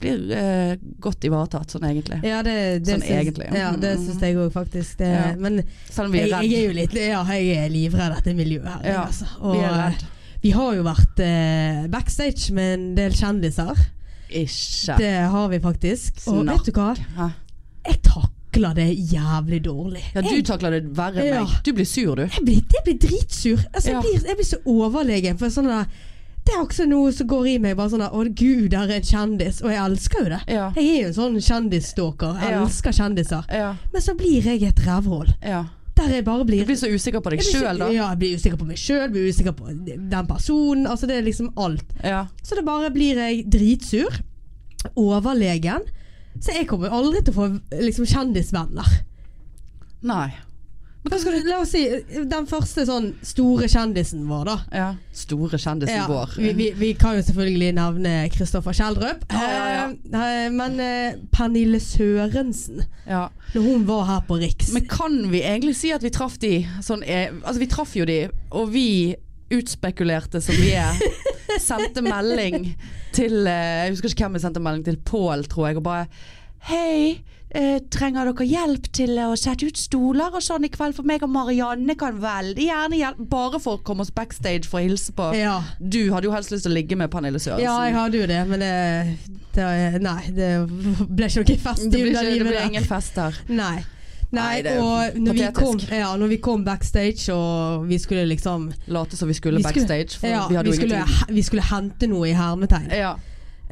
Speaker 1: blir eh, godt ivaretatt sånn egentlig.
Speaker 2: Ja, det, det
Speaker 1: Sånn
Speaker 2: syns,
Speaker 1: egentlig.
Speaker 2: Ja, det syns jeg òg, faktisk. Det,
Speaker 1: Ja.
Speaker 2: Men
Speaker 1: Selv om vi
Speaker 2: jeg,
Speaker 1: er
Speaker 2: jeg
Speaker 1: redd.
Speaker 2: er jo litt Ja, jeg er livredd dette miljøet her. jeg,
Speaker 1: Ja,
Speaker 2: altså. Og,
Speaker 1: Vi er redd.
Speaker 2: eh, vi har jo vært eh, backstage med en del kjendiser.
Speaker 1: Ikke.
Speaker 2: Det har vi faktisk. Og
Speaker 1: Snakk.
Speaker 2: vet du hva?
Speaker 1: Hæ?
Speaker 2: Jeg takler det jævlig dårlig.
Speaker 1: Ja, du
Speaker 2: Jeg-
Speaker 1: takler det verre enn
Speaker 2: Ja.
Speaker 1: meg. Du blir sur, du.
Speaker 2: jeg blir, jeg blir dritsur. Altså,
Speaker 1: Ja.
Speaker 2: jeg, blir, jeg blir så overlegen. For sånn der, det er også noe som går i meg. Bare sånn der, Å, gud, der er en kjendis. Og jeg elsker jo det.
Speaker 1: Ja.
Speaker 2: Jeg er jo en sånn kjendisstalker. Jeg
Speaker 1: Ja.
Speaker 2: elsker kjendiser.
Speaker 1: Ja.
Speaker 2: Men så blir jeg et rævhull.
Speaker 1: ja.
Speaker 2: Der jeg
Speaker 1: Du
Speaker 2: bare blir
Speaker 1: blir så usikker på deg
Speaker 2: jeg blir så-
Speaker 1: sjøl, da.
Speaker 2: Ja, jeg blir usikker på meg sjøl, blir usikker på den personen. Altså, det er liksom alt.
Speaker 1: Ja.
Speaker 2: Så det bare blir jeg dritsur. Overlegen. Så jeg kommer aldri til å få liksom, kjendisvenner.
Speaker 1: Nei.
Speaker 2: Men hva skal du, la oss si den første sånn store kjendisen vår, da.
Speaker 1: Ja. Store kjendisen vår.
Speaker 2: Vi, vi, vi kan jo selvfølgelig nevne Kristoffer Kjeldrup.
Speaker 1: Ja, ja,
Speaker 2: Eh, eh, Men eh, Pernille Sørensen,
Speaker 1: Ja.
Speaker 2: når hun var her på Riks
Speaker 1: Men kan vi egentlig si at vi traff de? Sånn, eh, altså vi traff jo de, og vi utspekulerte som vi er. Sendte melding til eh, Jeg husker ikke hvem vi sendte melding til. Pål, tror jeg. Og bare Hei, eh, trenger dere hjelp til å sette ut stoler og sånn i kveld? For meg og Marianne kan veldig gjerne hjelpe. Bare for å komme oss backstage for å hilse på.
Speaker 2: ja.
Speaker 1: Du hadde jo helst lyst til å ligge med Pernille Sørensen.
Speaker 2: ja, jeg hadde jo det, men eh, det, Nei, det ble ikke noe fest
Speaker 1: det blir,
Speaker 2: under
Speaker 1: ikke, det
Speaker 2: livet
Speaker 1: blir
Speaker 2: der.
Speaker 1: ingen fest her.
Speaker 2: Nei. Nei,
Speaker 1: Nei, det er
Speaker 2: og når vi, kom,
Speaker 1: patetisk.
Speaker 2: ja, når vi kom backstage og vi skulle liksom
Speaker 1: Late som vi skulle
Speaker 2: Vi skulle-
Speaker 1: backstage, for
Speaker 2: ja,
Speaker 1: vi hadde jo
Speaker 2: skulle,
Speaker 1: ingenting.
Speaker 2: vi skulle hente noe i hermetegn,
Speaker 1: Ja.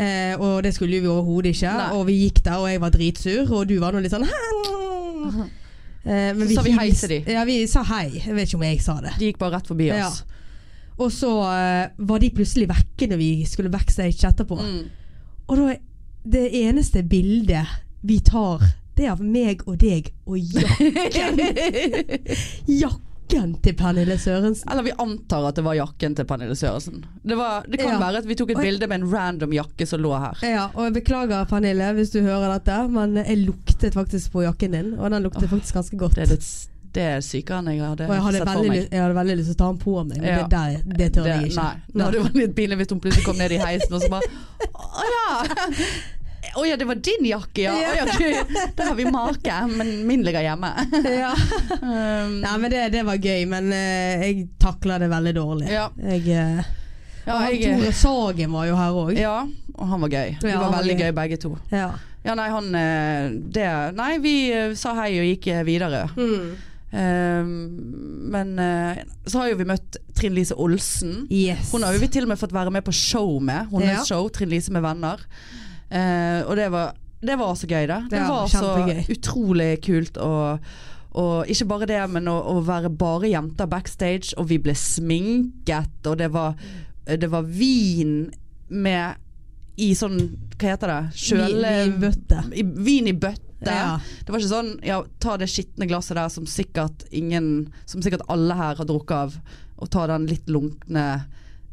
Speaker 2: eh, og det skulle vi overhodet ikke.
Speaker 1: Nei.
Speaker 2: Og vi gikk der, og jeg var dritsur, og du var nå litt sånn eh, men
Speaker 1: Så sa vi hei
Speaker 2: hils-
Speaker 1: til de.
Speaker 2: Ja, vi sa hei. Jeg vet ikke om jeg sa det.
Speaker 1: De gikk bare rett forbi oss.
Speaker 2: Og så eh, var de plutselig vekke når vi skulle backstage etterpå.
Speaker 1: Mm.
Speaker 2: Og da Det eneste bildet vi tar, det er av meg og deg og Jakken. Jakken jakken til Pernille Sørensen.
Speaker 1: Eller vi antar at det var jakken til Pernille Sørensen. Det, var, det kan
Speaker 2: Ja.
Speaker 1: være at vi tok et
Speaker 2: Oi.
Speaker 1: bilde med en random jakke som lå her.
Speaker 2: Ja, og jeg beklager Pernille hvis du hører dette, men jeg luktet faktisk på jakken din, og den luktet faktisk ganske godt.
Speaker 1: Det er, litt, s- det er sykere enn jeg hadde
Speaker 2: og jeg hadde,
Speaker 1: sett for
Speaker 2: veldig,
Speaker 1: meg.
Speaker 2: lyst- jeg hadde veldig lyst til å ta den på meg, men
Speaker 1: Ja.
Speaker 2: det, der, det tør jeg
Speaker 1: Det-
Speaker 2: ikke.
Speaker 1: Nei, det hadde vært litt pinlig hvis hun plutselig kom ned i heisen og så bare Å ja! Å ja, det var din jakke, ja. Å, ja ok. Der har vi make, men min ligger hjemme.
Speaker 2: ja.
Speaker 1: Um,
Speaker 2: Nei, men det, det var gøy, men eh, jeg takla det veldig dårlig.
Speaker 1: Ja.
Speaker 2: Jeg, eh,
Speaker 1: ja,
Speaker 2: og han
Speaker 1: jeg,
Speaker 2: Tore Sagen var jo her òg.
Speaker 1: ja, og han var gøy. De
Speaker 2: Ja,
Speaker 1: var
Speaker 2: han var
Speaker 1: veldig
Speaker 2: gøy.
Speaker 1: gøy begge to.
Speaker 2: Ja.
Speaker 1: Ja, nei, han eh, det, Nei, vi eh, sa hei og gikk eh, videre. Um, men eh, så har jo vi møtt Trine Lise Olsen.
Speaker 2: Yes.
Speaker 1: Hun har jo vi til og med fått være med på show med. Hennes
Speaker 2: Ja.
Speaker 1: show, Trine Lise med venner. Eh, og det var, det var så gøy, det. Det
Speaker 2: Ja,
Speaker 1: var så
Speaker 2: kjempegøy.
Speaker 1: utrolig kult å og ikke bare det, men å, å være bare jenter backstage, og vi ble sminket, og det var, det var vin med i sånn Hva heter det? Kjøle...
Speaker 2: Vi, vi bøtte.
Speaker 1: i, vin i bøtte.
Speaker 2: Ja.
Speaker 1: Det var ikke sånn ja, ta det skitne glasset der som sikkert ingen Som sikkert alle her har drukket av, og ta den litt lunkne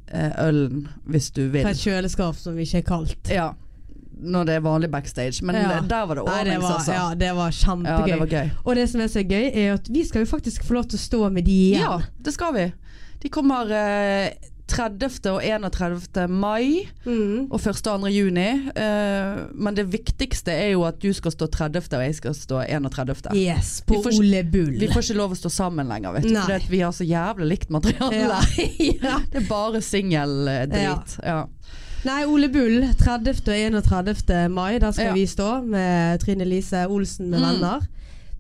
Speaker 1: eh, ølen hvis du vil.
Speaker 2: Fra et kjøleskap som ikke er kaldt.
Speaker 1: Ja. Når det er vanlig backstage. Men
Speaker 2: Ja.
Speaker 1: der var det
Speaker 2: Nei, det
Speaker 1: ordnings,
Speaker 2: var,
Speaker 1: altså.
Speaker 2: ja,
Speaker 1: Ja,
Speaker 2: det var kjempegøy.
Speaker 1: det var gøy.
Speaker 2: Og det som er så gøy, er at vi skal jo faktisk få lov til å stå med de igjen.
Speaker 1: Ja, det skal vi. De kommer eh, 30. og 31. mai
Speaker 2: Mm.
Speaker 1: og 1. og 2. juni. Eh, men det viktigste er jo at du skal stå 30. og jeg skal stå 31.
Speaker 2: Yes, på
Speaker 1: Vi får-
Speaker 2: Ole Bull.
Speaker 1: Vi får ikke lov å stå sammen lenger, vet du.
Speaker 2: Nei.
Speaker 1: For vi har så jævlig likt materiale.
Speaker 2: ja. ja.
Speaker 1: Det er bare singeldrit. Ja.
Speaker 2: Nei, Ole Bull, 30. og 31. mai, der skal
Speaker 1: Ja.
Speaker 2: vi stå med Trine Lise Olsen med
Speaker 1: Mm.
Speaker 2: venner.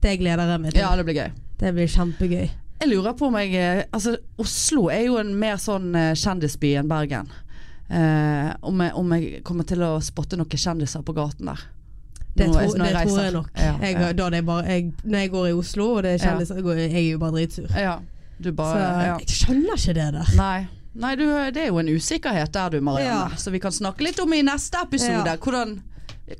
Speaker 2: Det gleder jeg meg
Speaker 1: Ja.
Speaker 2: til.
Speaker 1: det blir gøy.
Speaker 2: Det blir kjempegøy.
Speaker 1: Jeg lurer på om jeg eh, Altså, Oslo er jo en mer sånn eh, kjendisby enn Bergen. Eh, om, jeg, om jeg kommer til å spotte noen kjendiser på gaten der.
Speaker 2: Det,
Speaker 1: Nå-
Speaker 2: tror-
Speaker 1: når
Speaker 2: det tror
Speaker 1: reiser.
Speaker 2: jeg nok.
Speaker 1: Ja,
Speaker 2: Jeg,
Speaker 1: ja.
Speaker 2: da det er bare, jeg, når jeg går i Oslo, og det er kjendiser, går jeg jeg er jo bare dritsur.
Speaker 1: Ja, du
Speaker 2: Så
Speaker 1: bare ja.
Speaker 2: jeg skjønner ikke det der.
Speaker 1: Nei, Nei du, det er jo en usikkerhet der du, Marianne.
Speaker 2: Ja.
Speaker 1: Så vi kan snakke litt om i neste episode.
Speaker 2: Ja.
Speaker 1: Hvordan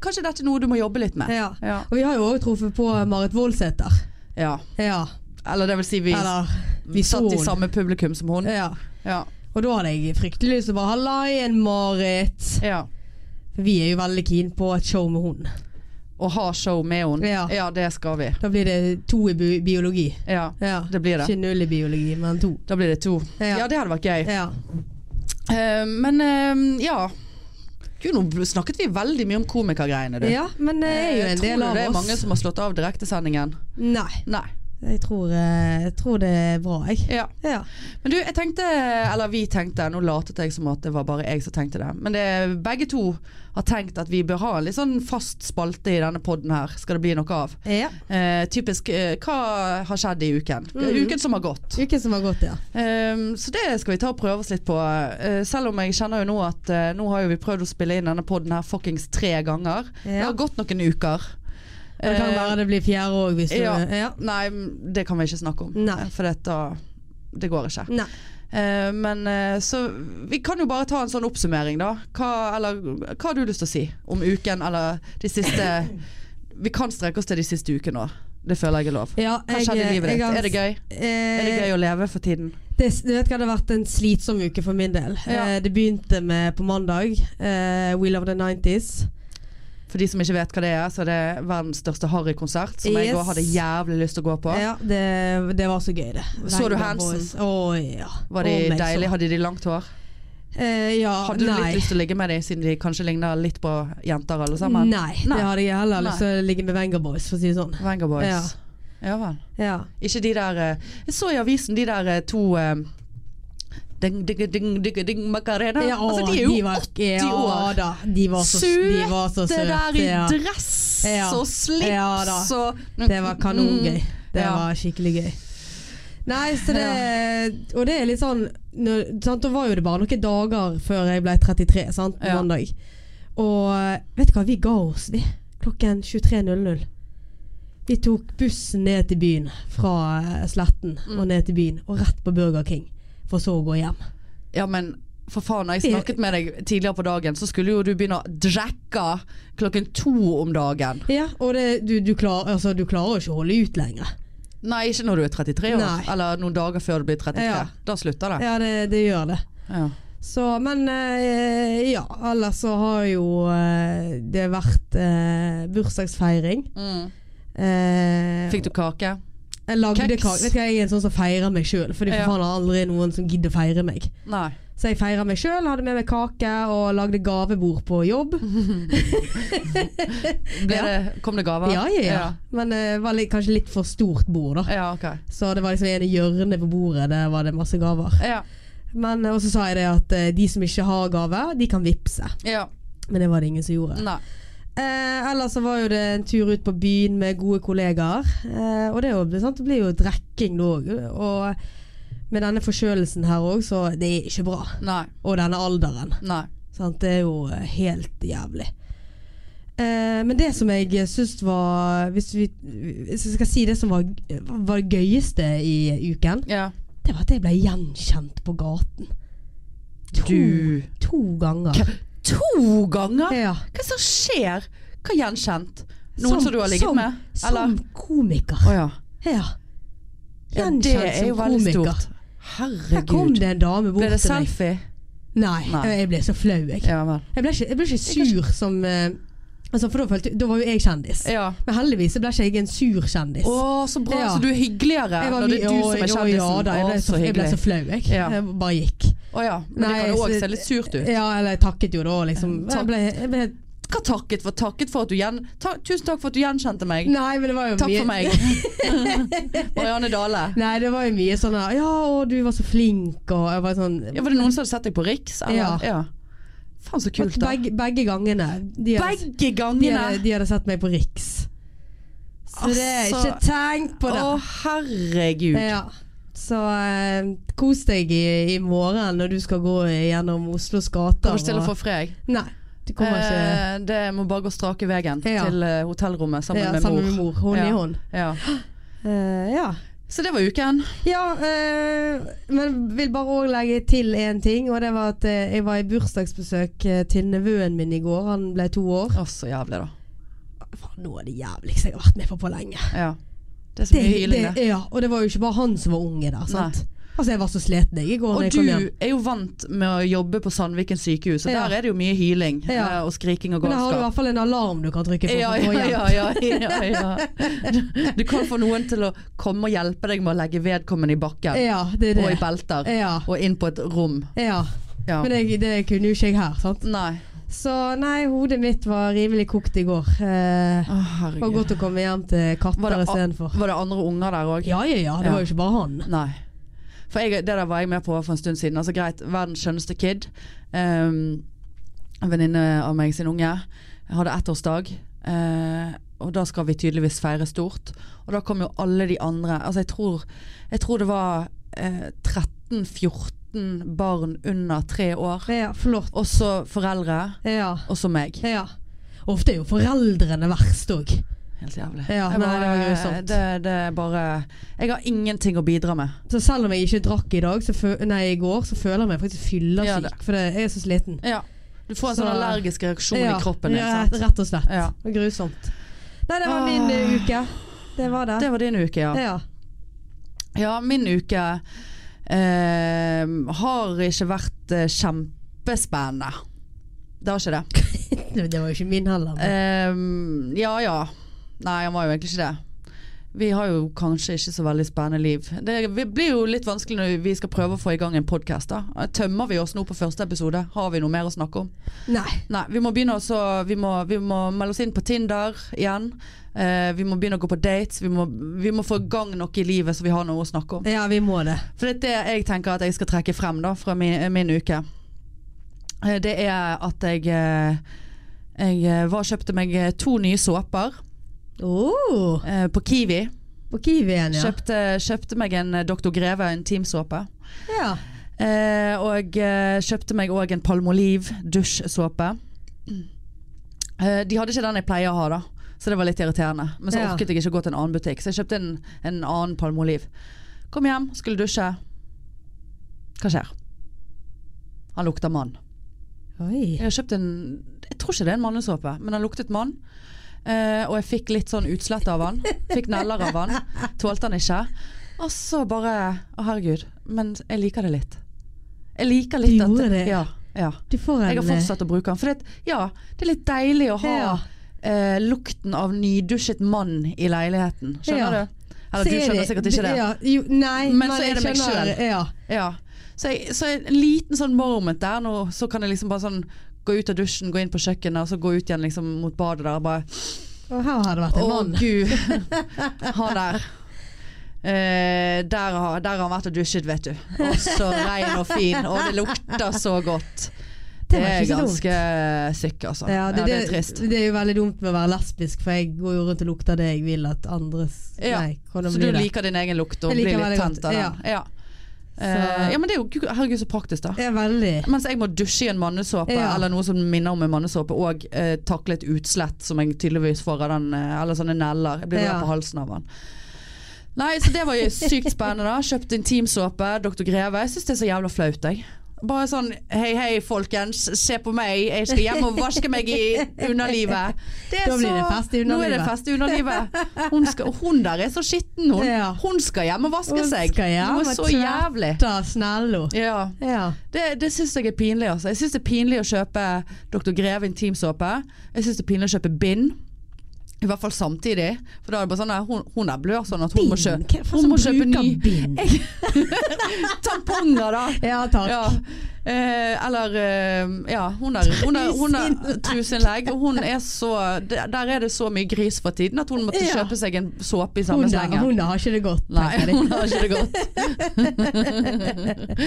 Speaker 1: Kanskje dette er noe du må jobbe litt med.
Speaker 2: Ja.
Speaker 1: Ja.
Speaker 2: Og vi har jo òg truffet på Marit Voldsæter.
Speaker 1: ja.
Speaker 2: Ja.
Speaker 1: Eller det vil si, vi,
Speaker 2: Eller
Speaker 1: vi
Speaker 2: vi så
Speaker 1: satt i
Speaker 2: henne.
Speaker 1: samme publikum som hun.
Speaker 2: Ja.
Speaker 1: Ja.
Speaker 2: Og da hadde jeg fryktelig lyst til å bare halla igjen, Marit.
Speaker 1: ja.
Speaker 2: For vi er jo veldig keen på et show med hun.
Speaker 1: Og ha show med henne.
Speaker 2: Ja.
Speaker 1: ja, det skal vi.
Speaker 2: Da blir det to i bi biologi.
Speaker 1: Ja,
Speaker 2: Ja.
Speaker 1: det blir det.
Speaker 2: Ikke null i biologi, men to.
Speaker 1: Da blir det to.
Speaker 2: Ja.
Speaker 1: Ja, det hadde vært gøy.
Speaker 2: Ja.
Speaker 1: Eh, men eh, ja. Gud, nå snakket vi veldig mye om komikergreiene, du.
Speaker 2: ja, men det er jo
Speaker 1: Eh,
Speaker 2: en
Speaker 1: tror
Speaker 2: del
Speaker 1: du
Speaker 2: av
Speaker 1: det er
Speaker 2: oss.
Speaker 1: mange som har slått av direktesendingen?
Speaker 2: Nei,
Speaker 1: Nei.
Speaker 2: jeg tror, eh, jeg tror det er bra, jeg.
Speaker 1: Ja.
Speaker 2: Ja.
Speaker 1: Men du, jeg tenkte, eller vi tenkte, nå latet jeg som at det var bare jeg som tenkte det. Men det, begge to har tenkt at vi bør ha en litt sånn fast spalte i denne podden her. Skal det bli noe av.
Speaker 2: ja.
Speaker 1: Eh, typisk eh, hva har skjedd i uken?
Speaker 2: Mhm.
Speaker 1: Uken som har gått.
Speaker 2: Uken som har gått, ja.
Speaker 1: Ehm, så det skal vi ta og prøve oss litt på. Eh, selv om jeg kjenner jo nå at eh, nå har jo vi prøvd å spille inn denne podden her fuckings tre ganger. Det
Speaker 2: ja.
Speaker 1: har gått noen uker.
Speaker 2: Og det kan
Speaker 1: Eh,
Speaker 2: være det blir fjerde òg, hvis du
Speaker 1: ja.
Speaker 2: ja.
Speaker 1: Nei, m, det kan vi ikke snakke om. Eh,
Speaker 2: Nei.
Speaker 1: For dette Det går ikke.
Speaker 2: Nei.
Speaker 1: Eh, men eh, så vi kan jo bare ta en sånn oppsummering, da. Hva, eller, hva har du lyst til å si om uken eller de siste Vi kan strekke oss til de siste ukene òg. Det føler jeg er lov.
Speaker 2: Ja,
Speaker 1: Hva skjedde i livet ditt? Er det gøy? Er det gøy å leve for tiden?
Speaker 2: Eh, Det, du vet hva, det har vært en slitsom uke for min del.
Speaker 1: Ja.
Speaker 2: Eh, det begynte med på mandag. Eh, We Love The 90s.
Speaker 1: For de som ikke vet hva det er, så er det verdens største harrykonsert. Som jeg
Speaker 2: Yes.
Speaker 1: også hadde jævlig lyst til å gå på.
Speaker 2: Ja, det, det var så gøy, det.
Speaker 1: Så du
Speaker 2: Rainbow
Speaker 1: Hansen?
Speaker 2: Boys. Å, ja.
Speaker 1: Var de
Speaker 2: Å, meg,
Speaker 1: deilige?
Speaker 2: så.
Speaker 1: Hadde de langt hår?
Speaker 2: Eh, ja,
Speaker 1: Hadde du
Speaker 2: nei.
Speaker 1: litt lyst til å ligge med dem, siden de kanskje ligner litt på jenter alle sammen?
Speaker 2: Nei,
Speaker 1: Nei.
Speaker 2: det hadde jeg heller
Speaker 1: Nei.
Speaker 2: lyst til å ligge med Venga Boys, for å si det sånn.
Speaker 1: Venga Boys.
Speaker 2: Ja.
Speaker 1: Ja. vel.
Speaker 2: Ja.
Speaker 1: Ikke de der eh, Jeg så i avisen de der eh, to eh, Ding, ding, ding, ding, ding, Macarena.
Speaker 2: Ja, å,
Speaker 1: altså, de er jo
Speaker 2: var-
Speaker 1: 80
Speaker 2: Ja
Speaker 1: år.
Speaker 2: da, de var så
Speaker 1: Søte
Speaker 2: de var så
Speaker 1: Det der i
Speaker 2: ja.
Speaker 1: dress
Speaker 2: Ja.
Speaker 1: og slips
Speaker 2: Ja da.
Speaker 1: og
Speaker 2: Det var kanongøy. Det
Speaker 1: Mm. Ja.
Speaker 2: var skikkelig gøy. Nei, så det Og det er litt sånn når, sant, Da var jo det bare noen dager før jeg ble 33, sant, på
Speaker 1: Ja.
Speaker 2: mandag. Og vet du hva, vi ga oss, vi. Klokken 23.00. Vi tok bussen ned til byen fra eh, Sletten
Speaker 1: Mm.
Speaker 2: og ned til byen, og rett på Burger King. For så å gå hjem.
Speaker 1: Ja, men for faen, når jeg snakket med deg tidligere på dagen, så skulle jo du begynne å drikke klokken to om dagen.
Speaker 2: Ja, og det, du, du, klar, altså, du klarer jo ikke å holde ut lenger.
Speaker 1: Nei, ikke når du er 33 år.
Speaker 2: Nei.
Speaker 1: Eller noen dager før du blir 33.
Speaker 2: Ja.
Speaker 1: Da slutter det.
Speaker 2: Ja, det, det gjør det.
Speaker 1: Ja.
Speaker 2: Så, men eh, ja, ellers så har jo eh, det vært eh, bursdagsfeiring.
Speaker 1: Mm.
Speaker 2: Eh,
Speaker 1: Fikk du kake?
Speaker 2: jeg lagde
Speaker 1: keks?
Speaker 2: kake. Vet du hva, jeg er en sånn som feirer meg sjøl, for det er
Speaker 1: Ja.
Speaker 2: for faen aldri noen som gidder å feire meg.
Speaker 1: Nei.
Speaker 2: Så jeg feirer meg sjøl, hadde med meg kake og lagde gavebord på jobb.
Speaker 1: Ble
Speaker 2: Ja.
Speaker 1: det, kom det gaver?
Speaker 2: Ja, ja, ja. Men det var litt, kanskje litt for stort bord,
Speaker 1: Ja,
Speaker 2: da.
Speaker 1: ja ok.
Speaker 2: Så det var liksom ene hjørnet på bordet, der var det masse gaver.
Speaker 1: Ja.
Speaker 2: Men eh, Og så sa jeg det at eh, de som ikke har gave, de kan vippse.
Speaker 1: ja.
Speaker 2: Men det var det ingen som gjorde.
Speaker 1: Nei.
Speaker 2: Eh, ellers så var jo det en tur ut på byen med gode kollegaer. Eh, og det, er jo, sant? det blir jo drekking da òg. Og med denne forkjølelsen her òg, så det er ikke bra.
Speaker 1: Nei.
Speaker 2: Og denne alderen.
Speaker 1: Nei.
Speaker 2: Sant? Det er jo eh, helt jævlig. Eh, men det som jeg syns var Hvis, vi, hvis jeg skal si det som var, var det gøyeste i uken,
Speaker 1: Ja.
Speaker 2: det var at jeg ble gjenkjent på gaten. To,
Speaker 1: Du
Speaker 2: to ganger.
Speaker 1: Hva- To ganger?!
Speaker 2: Ja.
Speaker 1: Hva som skjer? Hva gjenkjent? Noen som, du har ligget
Speaker 2: som,
Speaker 1: med?
Speaker 2: Som komiker.
Speaker 1: Å ja.
Speaker 2: Ja.
Speaker 1: ja.
Speaker 2: Gjenkjent
Speaker 1: Det er jo
Speaker 2: som
Speaker 1: veldig
Speaker 2: komiker.
Speaker 1: stort.
Speaker 2: Her kom
Speaker 1: Herregud.
Speaker 2: det en dame bort
Speaker 1: Ble det
Speaker 2: til meg.
Speaker 1: selfie?
Speaker 2: Nei,
Speaker 1: Nei.
Speaker 2: jeg ble så flau, jeg.
Speaker 1: Ja vel.
Speaker 2: Jeg ble ikke, jeg ble ikke sur som eh, altså, For da, følte, da var jo jeg kjendis.
Speaker 1: Ja.
Speaker 2: Men heldigvis så ble ikke jeg en sur kjendis.
Speaker 1: Å, så bra!
Speaker 2: Ja.
Speaker 1: Så du er hyggeligere
Speaker 2: Jeg var
Speaker 1: når det er du
Speaker 2: mye-
Speaker 1: som er
Speaker 2: å,
Speaker 1: kjendisen.
Speaker 2: Ja, da, jeg,
Speaker 1: Å,
Speaker 2: ble så,
Speaker 1: så
Speaker 2: jeg ble
Speaker 1: hyggelig.
Speaker 2: så flau, jeg.
Speaker 1: Ja.
Speaker 2: Jeg bare gikk.
Speaker 1: Å ja. Men det
Speaker 2: Nei,
Speaker 1: kan jo òg
Speaker 2: så-
Speaker 1: se litt surt ut.
Speaker 2: Ja, eller jeg takket jo da, liksom.
Speaker 1: Takk.
Speaker 2: Jeg ble, jeg ble,
Speaker 1: Hva takket for? Takket for at du gjen... Ta... Tusen takk for at du gjenkjente meg.
Speaker 2: nei, men det var jo
Speaker 1: Takk
Speaker 2: mye
Speaker 1: for meg. Marianne Dale.
Speaker 2: Nei, det var jo mye sånn her, Ja, å, du var så flink, og jeg var sånn
Speaker 1: Ja, var det noen som hadde sett deg på Riks?
Speaker 2: Ja.
Speaker 1: Eller? Ja. Faen, så kult, da.
Speaker 2: begge, begge gangene. De hadde-
Speaker 1: Begge
Speaker 2: De hadde,
Speaker 1: gangene!
Speaker 2: de hadde sett meg på Riks. Så det er
Speaker 1: Altså,
Speaker 2: ikke tenk på
Speaker 1: Å,
Speaker 2: det.
Speaker 1: herregud.
Speaker 2: Ja. Så eh, kos deg i, i morgen når du skal gå gjennom Oslos gater.
Speaker 1: Kommer ikke til å
Speaker 2: og-
Speaker 1: få fred, jeg.
Speaker 2: Nei, du kommer ikke
Speaker 1: Eh, det må bare gå strake veien
Speaker 2: Ja.
Speaker 1: til eh, hotellrommet sammen
Speaker 2: ja,
Speaker 1: med
Speaker 2: sammen med
Speaker 1: mor.
Speaker 2: mor. Hånd i
Speaker 1: Ja.
Speaker 2: hånd.
Speaker 1: Ja.
Speaker 2: Eh, ja.
Speaker 1: Så det var uken.
Speaker 2: ja eh, men vil bare òg legge til én ting. Og det var at eh, jeg var i bursdagsbesøk eh, til nevøen min i går. Han ble to år.
Speaker 1: Å, så jævlig, da.
Speaker 2: Faen, nå er det jævligste jeg har vært med på på lenge.
Speaker 1: Ja. Det er så
Speaker 2: Det,
Speaker 1: mye hyling, det.
Speaker 2: det, ja, og det var jo ikke bare han som var unge der. Sant? Altså, jeg var så sliten jeg i går. når
Speaker 1: Og
Speaker 2: jeg kom hjem.
Speaker 1: du er jo vant med å jobbe på Sandviken sykehus, og
Speaker 2: Ja.
Speaker 1: der er det jo mye hyling
Speaker 2: Ja.
Speaker 1: eh, og skriking og
Speaker 2: Men da har du i
Speaker 1: galskap.
Speaker 2: hvert fall en alarm du kan trykke på.
Speaker 1: Ja,
Speaker 2: for å få
Speaker 1: ja,
Speaker 2: hjelp.
Speaker 1: ja, ja, ja, ja. Du, du kan få noen til å komme og hjelpe deg med å legge vedkommende i bakken
Speaker 2: ja, det er
Speaker 1: og i
Speaker 2: det.
Speaker 1: belter
Speaker 2: Ja,
Speaker 1: og inn på et rom.
Speaker 2: ja.
Speaker 1: Ja.
Speaker 2: Men det, det kunne jo ikke jeg her. Sant?
Speaker 1: Nei.
Speaker 2: Så nei, hodet mitt var rimelig kokt i går.
Speaker 1: Å,
Speaker 2: Eh, det var
Speaker 1: herregud.
Speaker 2: godt å komme hjem
Speaker 1: Var
Speaker 2: til katter
Speaker 1: det a-
Speaker 2: istedenfor.
Speaker 1: Var det andre unger der òg?
Speaker 2: Ja, ja, ja. Det
Speaker 1: Ja.
Speaker 2: var jo ikke bare han.
Speaker 1: Nei. For jeg, det der var jeg med på for en stund siden. Altså greit, verdens skjønneste kid. Ehm, en venninne av meg sin unge hadde ettårsdag. eh, og da skal vi tydeligvis feire stort. Og da kom jo alle de andre. Altså jeg tror, jeg tror det var eh, 13-14 barn under tre år.
Speaker 2: Ja, flott.
Speaker 1: Også foreldre.
Speaker 2: Ja.
Speaker 1: Også meg.
Speaker 2: ja. Ofte er jo foreldrene verst òg.
Speaker 1: Helt jævlig.
Speaker 2: Ja,
Speaker 1: jeg
Speaker 2: nei, det var
Speaker 1: bare,
Speaker 2: grusomt.
Speaker 1: det, det er bare Jeg har ingenting å bidra med.
Speaker 2: Så selv om jeg ikke drakk i dag, så fø nei, i går, så føler jeg meg faktisk
Speaker 1: Ja,
Speaker 2: fyllesyk.
Speaker 1: det.
Speaker 2: for det, jeg er så sliten.
Speaker 1: Ja. Du får en
Speaker 2: Så-
Speaker 1: sånn allergisk reaksjon
Speaker 2: Ja,
Speaker 1: i kroppen. din,
Speaker 2: ja,
Speaker 1: sant?
Speaker 2: rett, rett og slett.
Speaker 1: Ja.
Speaker 2: Det var Grusomt. Nei, det var min
Speaker 1: Ah.
Speaker 2: eh, uke. Det var det.
Speaker 1: Det var din uke, ja.
Speaker 2: ja.
Speaker 1: Ja, min uke eh, har ikke vært eh, kjempespennende. Det har ikke det.
Speaker 2: Det det var jo ikke min heller. men-
Speaker 1: Eh, ja ja. Nei, han var jo egentlig ikke det. Vi har jo kanskje ikke så veldig spennende liv. Det vi- blir jo litt vanskelig når vi skal prøve å få i gang en podkast. Tømmer vi oss nå på første episode? Har vi noe mer å snakke om?
Speaker 2: Nei.
Speaker 1: Nei, vi må begynne også, vi, må, vi må melde oss inn på Tinder igjen. Eh, vi må begynne å gå på dates. Vi må, vi må få i gang noe i livet så vi har noe å snakke om.
Speaker 2: Ja, vi må det.
Speaker 1: For det er det jeg tenker at jeg skal trekke frem da, fra min, min uke. Eh, Det er at jeg, eh, jeg eh, var og kjøpte meg eh, to nye såper
Speaker 2: Oh,
Speaker 1: eh, på Kiwi.
Speaker 2: på Kiwien, ja.
Speaker 1: Kjøpte, kjøpte meg en eh, Dr. Greve, en teamsåpe.
Speaker 2: ja.
Speaker 1: Eh, og eh, kjøpte meg òg en Palmolive dusjsåpe. Eh, de hadde ikke den jeg pleier å ha, da. Så det var litt irriterende. Men så
Speaker 2: Ja.
Speaker 1: orket jeg ikke gå til en annen butikk, så jeg kjøpte en, en annen Palmolive. Kom hjem, skulle dusje. Hva skjer? Han lukter mann.
Speaker 2: Oi.
Speaker 1: Jeg har kjøpt en Jeg tror ikke det er en mannesåpe, men han luktet mann. Eh, og jeg fikk litt sånn utslett av han. Fikk neller av han. Tålte han ikke. Og så bare Å, herregud. Men jeg liker det litt. Jeg liker litt
Speaker 2: Du
Speaker 1: at
Speaker 2: gjorde det?
Speaker 1: Ja. ja.
Speaker 2: Du får en
Speaker 1: Jeg har fortsatt å bruke den. For det, ja, det er litt deilig å ha
Speaker 2: Ja.
Speaker 1: eh, lukten av nydusjet mann i leiligheten. Skjønner
Speaker 2: Ja.
Speaker 1: du? Eller du skjønner sikkert ikke det.
Speaker 2: eh, Ja, jo, nei,
Speaker 1: Men så er
Speaker 2: jeg
Speaker 1: det meg
Speaker 2: skjønner,
Speaker 1: selv.
Speaker 2: Ja.
Speaker 1: Ja. Så, jeg, så en liten sånn moment der nå, så kan jeg liksom bare sånn gå ut av dusjen, gå inn på kjøkkenet, og så gå ut igjen liksom mot badet der og bare
Speaker 2: Og her har det vært en
Speaker 1: Å
Speaker 2: mann.
Speaker 1: gud, han der. Eh, der, har, der har han vært og dusjet, vet du. Og så rein og fin, og det lukter så godt. Det
Speaker 2: var
Speaker 1: er
Speaker 2: ikke så dumt.
Speaker 1: ganske sykt, altså.
Speaker 2: Ja, det,
Speaker 1: det er trist.
Speaker 2: Det er jo veldig dumt med å være lesbisk, for jeg går jo rundt og lukter det jeg vil at andre s-
Speaker 1: Ja,
Speaker 2: Nei, hvordan
Speaker 1: Så du
Speaker 2: blir det?
Speaker 1: liker din egen lukt og
Speaker 2: Jeg liker
Speaker 1: blir litt
Speaker 2: veldig godt,
Speaker 1: tent av den? Ja.
Speaker 2: Så-
Speaker 1: Eh, ja, men det er jo gud- herregud så praktisk, da.
Speaker 2: Det er veldig
Speaker 1: Mens jeg må dusje i en mannesåpe
Speaker 2: Ja.
Speaker 1: eller noe som minner om en mannesåpe, og eh, takle et utslett som jeg tydeligvis får av den, eh, eller sånne neller. Jeg blir
Speaker 2: Ja.
Speaker 1: rød på halsen av den. Nei, så det var jo sykt spennende. da Kjøpte intimsåpe, Dr. Greve. Jeg syns det er så jævla flaut, jeg. Bare sånn hei hei, folkens, se på meg, jeg skal hjem og vaske meg i underlivet. Det er
Speaker 2: Da blir det
Speaker 1: så-
Speaker 2: fest i
Speaker 1: Nå er det
Speaker 2: underlivet.
Speaker 1: fest i underlivet. Hun, skal, hun der er så skitten, hun.
Speaker 2: Ja.
Speaker 1: Hun skal hjem og vaske
Speaker 2: Hun
Speaker 1: seg.
Speaker 2: skal hjem
Speaker 1: Noe
Speaker 2: og
Speaker 1: så
Speaker 2: tvætte.
Speaker 1: jævlig.
Speaker 2: Da, snello.
Speaker 1: Ja.
Speaker 2: Ja.
Speaker 1: Det, det syns jeg er pinlig. Altså. Jeg syns det er pinlig å kjøpe Dr. Greve intimsåpe. Jeg syns det er pinlig å kjøpe bind. I hvert fall samtidig. For da er det bare sånn at hun, hun er blør sånn at hun må
Speaker 2: Bind? sånn
Speaker 1: kjøpe,
Speaker 2: Hvem faen
Speaker 1: hun må
Speaker 2: som
Speaker 1: kjøpe
Speaker 2: bruker
Speaker 1: ny
Speaker 2: bind?
Speaker 1: tamponger, da.
Speaker 2: Ja takk.
Speaker 1: Ja. Eh, eller eh, Ja, hun har hun har- hun har truseinnlegg. Og hun er så Der der er det så mye gris for tiden at hun måtte
Speaker 2: Ja.
Speaker 1: kjøpe seg en såpe i samme
Speaker 2: Hun, der,
Speaker 1: slengen.
Speaker 2: hun der har ikke det godt.
Speaker 1: Nei,
Speaker 2: tenker jeg.
Speaker 1: hun har ikke det godt.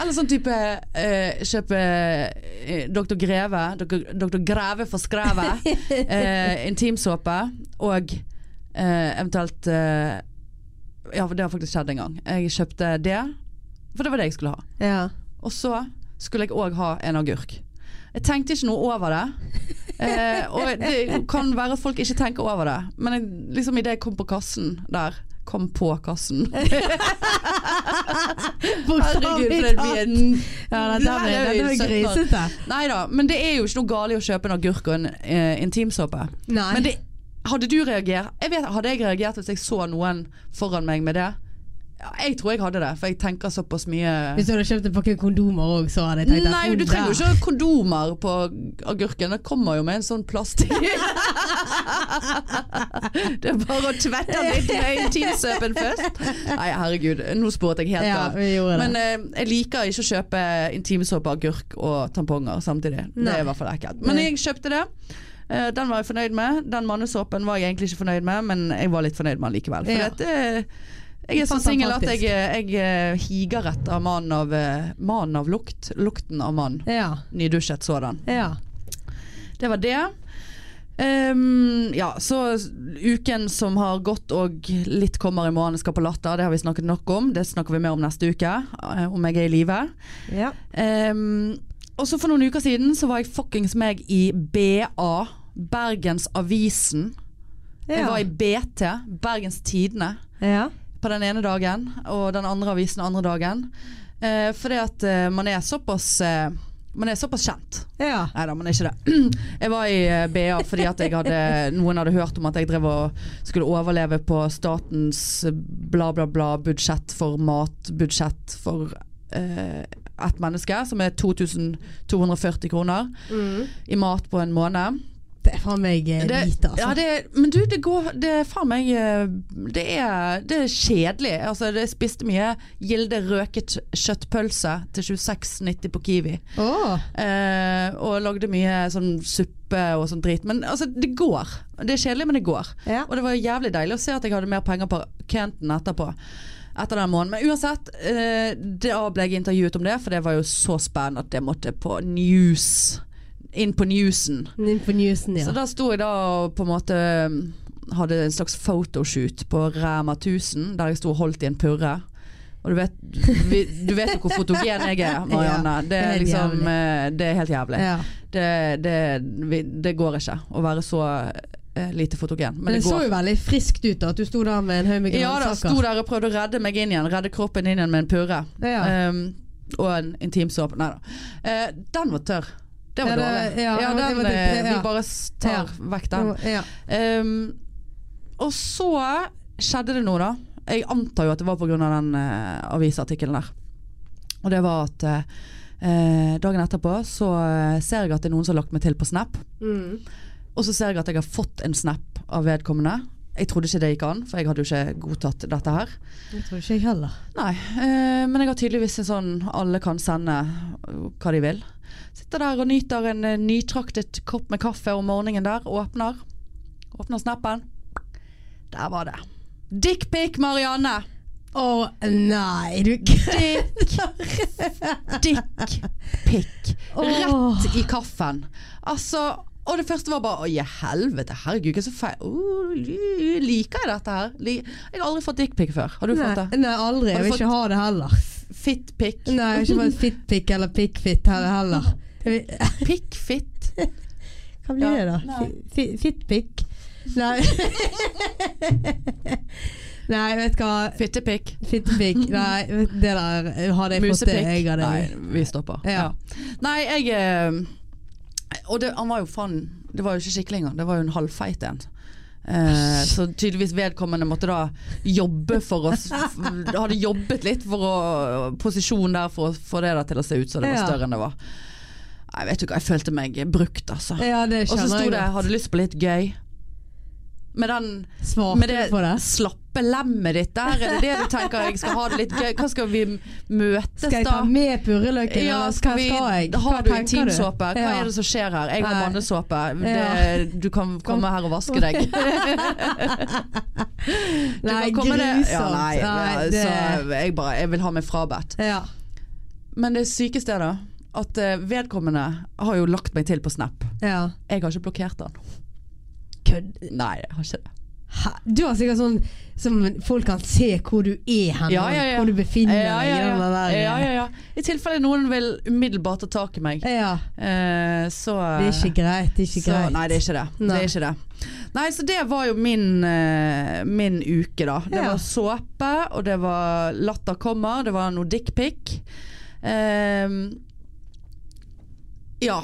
Speaker 1: Eller sånn type eh, kjøpe eh, Dr. Greve, Dr. Dr. Greve for skrevet, eh, intimsåpe og eh, eventuelt eh, Ja, for det har faktisk skjedd en gang. Jeg kjøpte det, for det var det jeg skulle ha.
Speaker 2: Ja.
Speaker 1: Og så skulle jeg òg ha en agurk. Jeg tenkte ikke noe over det. Eh, og det kan være at folk ikke tenker over det, men jeg, liksom idet jeg kom på kassen der Kom på kassen. Herregud, for det blir en
Speaker 2: Ja, dette
Speaker 1: Nei,
Speaker 2: ble,
Speaker 1: det er jo
Speaker 2: dette ble
Speaker 1: søtt, da.
Speaker 2: grisete.
Speaker 1: Nei da, men det er jo ikke noe galt i å kjøpe en agurk og en eh, intimsåpe.
Speaker 2: Nei.
Speaker 1: Men det, hadde du reagert jeg vet, Hadde jeg reagert hvis jeg så noen foran meg med det? Ja, Jeg tror jeg hadde det, for jeg tenker såpass mye
Speaker 2: Hvis du hadde kjøpt en pakke kondomer òg, så hadde jeg tenkt at
Speaker 1: Nei,
Speaker 2: hun
Speaker 1: du trenger jo
Speaker 2: der-
Speaker 1: ikke kondomer på agurken. Det kommer jo med en sånn plastikk. det er bare å tvette den litt med intimsøpen først. Nei, herregud, nå sporet jeg helt
Speaker 2: Ja,
Speaker 1: av.
Speaker 2: vi gjorde det.
Speaker 1: Men eh, jeg liker ikke å kjøpe intimsåpe, agurk og tamponger samtidig. Det
Speaker 2: Nei.
Speaker 1: er i hvert fall ekkelt. Men jeg kjøpte det. Eh, Den var jeg fornøyd med. Den mannesåpen var jeg egentlig ikke fornøyd med, men jeg var litt fornøyd med den likevel. For
Speaker 2: Ja.
Speaker 1: at, eh, jeg er så
Speaker 2: Fant den
Speaker 1: singel at
Speaker 2: praktisk.
Speaker 1: jeg, jeg eh, higer etter mannen av, eh, mannen av lukt. Lukten av mann.
Speaker 2: Ja.
Speaker 1: Nydusjet sådan.
Speaker 2: ja.
Speaker 1: Det var det. Ehm, ja, så uken som har gått og litt kommer i morgen skal på Latter, det har vi snakket nok om. Det snakker vi mer om neste uke, eh, om jeg er i live.
Speaker 2: ja.
Speaker 1: Ehm, og så for noen uker siden så var jeg fuckings meg i BA, Bergens Avisen. Jeg var i BT, Bergens Tidende
Speaker 2: ja.
Speaker 1: på den ene dagen, og den andre avisen den andre dagen. Eh, fordi at eh, man er såpass eh, Man er såpass kjent.
Speaker 2: ja.
Speaker 1: Nei da, man er ikke det. Jeg var i eh, BA fordi at jeg hadde, noen hadde hørt om at jeg drev og skulle overleve på statens eh, bla, bla, bla budsjett for matbudsjett for eh, ett menneske, som er 2240 kroner
Speaker 2: Mm.
Speaker 1: i mat på en måned.
Speaker 2: Det er faen meg eh,
Speaker 1: Det-
Speaker 2: lite, altså.
Speaker 1: Ja, det, men du, det går Det er faen meg eh, Det er, det er kjedelig. Altså, det spiste mye Gilde røket kjøttpølse til 26,90 på Kiwi.
Speaker 2: Åh.
Speaker 1: Eh, og lagde mye sånn suppe og sånn drit. Men altså, det går. Det er kjedelig, men det går.
Speaker 2: Ja.
Speaker 1: Og det var jævlig deilig å se at jeg hadde mer penger på Kenton etterpå. Etter den måneden. Men uansett, eh, da ble jeg intervjuet om det, for det var jo så spennende at det måtte på news. Inn på newsen.
Speaker 2: Inn på newsen, ja.
Speaker 1: Så da sto jeg da og på en måte um, hadde en slags photoshoot på Ræma 1000, der jeg sto og holdt i en purre. Og du vet, vi, du vet jo hvor fotogen jeg er, Marianne.
Speaker 2: Ja,
Speaker 1: det, er
Speaker 2: helt
Speaker 1: liksom,
Speaker 2: jævlig.
Speaker 1: eh, det er helt jævlig.
Speaker 2: ja.
Speaker 1: Det, det, vi, det går ikke å være så eh, lite fotogen. Men,
Speaker 2: Men det
Speaker 1: det går.
Speaker 2: så jo veldig friskt ut, da. At du sto der med en haug med
Speaker 1: Ja da, sto
Speaker 2: grønnsaker.
Speaker 1: der og prøvde å redde meg inn igjen. Redde kroppen inn igjen med en purre.
Speaker 2: Ja.
Speaker 1: Ehm, og en intimsåpe. Nei da. Eh, den var tørr. Det var
Speaker 2: Ja, det-
Speaker 1: dårlig.
Speaker 2: ja,
Speaker 1: Ja,
Speaker 2: jeg
Speaker 1: den,
Speaker 2: vet ikke,
Speaker 1: eh,
Speaker 2: ja.
Speaker 1: Vi bare s- tar vekk den.
Speaker 2: Ja.
Speaker 1: Ehm, og så skjedde det noe, da. Jeg antar jo at det var pga. den uh, avisartikkelen der. Og det var at eh, dagen etterpå så eh, ser jeg at det er noen som har lagt meg til på Snap.
Speaker 2: Mm.
Speaker 1: Og så ser jeg at jeg har fått en Snap av vedkommende. Jeg trodde ikke det gikk an, for jeg hadde jo ikke godtatt dette her.
Speaker 2: Det tror ikke jeg heller.
Speaker 1: Nei, eh, men jeg har tydeligvis en sånn alle kan sende eh, hva de vil. Sitter der og nyter en eh, nytraktet kopp med kaffe om morgenen der, og åpner. Åpner snappen. Der var det. Dickpic Marianne!
Speaker 2: Å nei, du kødder!
Speaker 1: Dickpic. Rett i kaffen. Altså, og det første var bare Å, i helvete, herregud, hva er så feil Å, li- Liker jeg dette her? Li- Jeg har aldri fått dickpic før. Har du fått det?
Speaker 2: Nei, nei, aldri.
Speaker 1: Har
Speaker 2: Jeg
Speaker 1: du
Speaker 2: vil
Speaker 1: fått-
Speaker 2: ikke ha det heller.
Speaker 1: Fittpic.
Speaker 2: Nei, jeg har ikke fått fittpikk eller pikkfitt heller. heller. Jeg vil-
Speaker 1: Pikkfitt.
Speaker 2: Hva blir
Speaker 1: Ja,
Speaker 2: det, da?
Speaker 1: nei.
Speaker 2: Fi- fi- Fittpikk? Nei. nei, vet du hva.
Speaker 1: Fittepikk.
Speaker 2: Fittepikk. Nei, vet- det der hadde jeg fått det jeg hadde.
Speaker 1: Nei, vi stopper.
Speaker 2: Ja.
Speaker 1: Ja. Nei, jeg eh, Og det, han var jo faen Det var jo ikke skikkelig engang. Det var jo en halvfeit en. Eh, så tydeligvis vedkommende måtte da jobbe for å s- f- Hadde jobbet litt for å posisjon der for å få det der til å se ut som det var
Speaker 2: Ja.
Speaker 1: større enn det var. Nei, vet du hva, jeg følte meg brukt, altså.
Speaker 2: Ja, det
Speaker 1: Og så
Speaker 2: kjenner
Speaker 1: sto
Speaker 2: jeg
Speaker 1: det
Speaker 2: godt.
Speaker 1: 'hadde lyst på litt gøy'. Med den
Speaker 2: Svarte
Speaker 1: med
Speaker 2: du
Speaker 1: det,
Speaker 2: på det?
Speaker 1: slappe lemmet ditt der, er det det du tenker jeg skal ha det litt gøy? Hva skal vi m- møtes
Speaker 2: Skal jeg
Speaker 1: da?
Speaker 2: ta med purreløken,
Speaker 1: Ja,
Speaker 2: eller
Speaker 1: skal
Speaker 2: skal,
Speaker 1: vi,
Speaker 2: skal jeg?
Speaker 1: har
Speaker 2: Hva
Speaker 1: du
Speaker 2: tenker
Speaker 1: intimsåpe? Hva
Speaker 2: Ja.
Speaker 1: er det som skjer her? Jeg har
Speaker 2: Nei.
Speaker 1: mannesåpe. Det-
Speaker 2: Ja.
Speaker 1: Du kan komme her og vaske deg. Du
Speaker 2: Nei,
Speaker 1: kan komme det-
Speaker 2: grusomt.
Speaker 1: Ja, nei, ja,
Speaker 2: det,
Speaker 1: Så jeg bare Jeg vil ha meg frabedt.
Speaker 2: ja.
Speaker 1: Men det sykeste er da at eh, vedkommende har jo lagt meg til på Snap.
Speaker 2: ja.
Speaker 1: Jeg har ikke blokkert han.
Speaker 2: Kødd.
Speaker 1: Nei, jeg har ikke det.
Speaker 2: Hæ? Du har sikkert sånn som folk kan se hvor du er hen,
Speaker 1: Ja, ja, ja.
Speaker 2: hvor du befinner deg.
Speaker 1: Ja, ja,
Speaker 2: i den
Speaker 1: ja.
Speaker 2: der- eh?
Speaker 1: ja, ja, ja. I tilfelle noen vil umiddelbart ta tak i meg.
Speaker 2: Ja,
Speaker 1: Eh, så eh,
Speaker 2: Det er ikke greit. Det er ikke
Speaker 1: så,
Speaker 2: greit.
Speaker 1: Nei, det er ikke det. det
Speaker 2: Nei.
Speaker 1: er ikke det. Nei, så det var jo min, eh, min uke, da. Det
Speaker 2: Ja.
Speaker 1: var såpe, og det var Latter kommer, det var noe dickpic. Um, ja.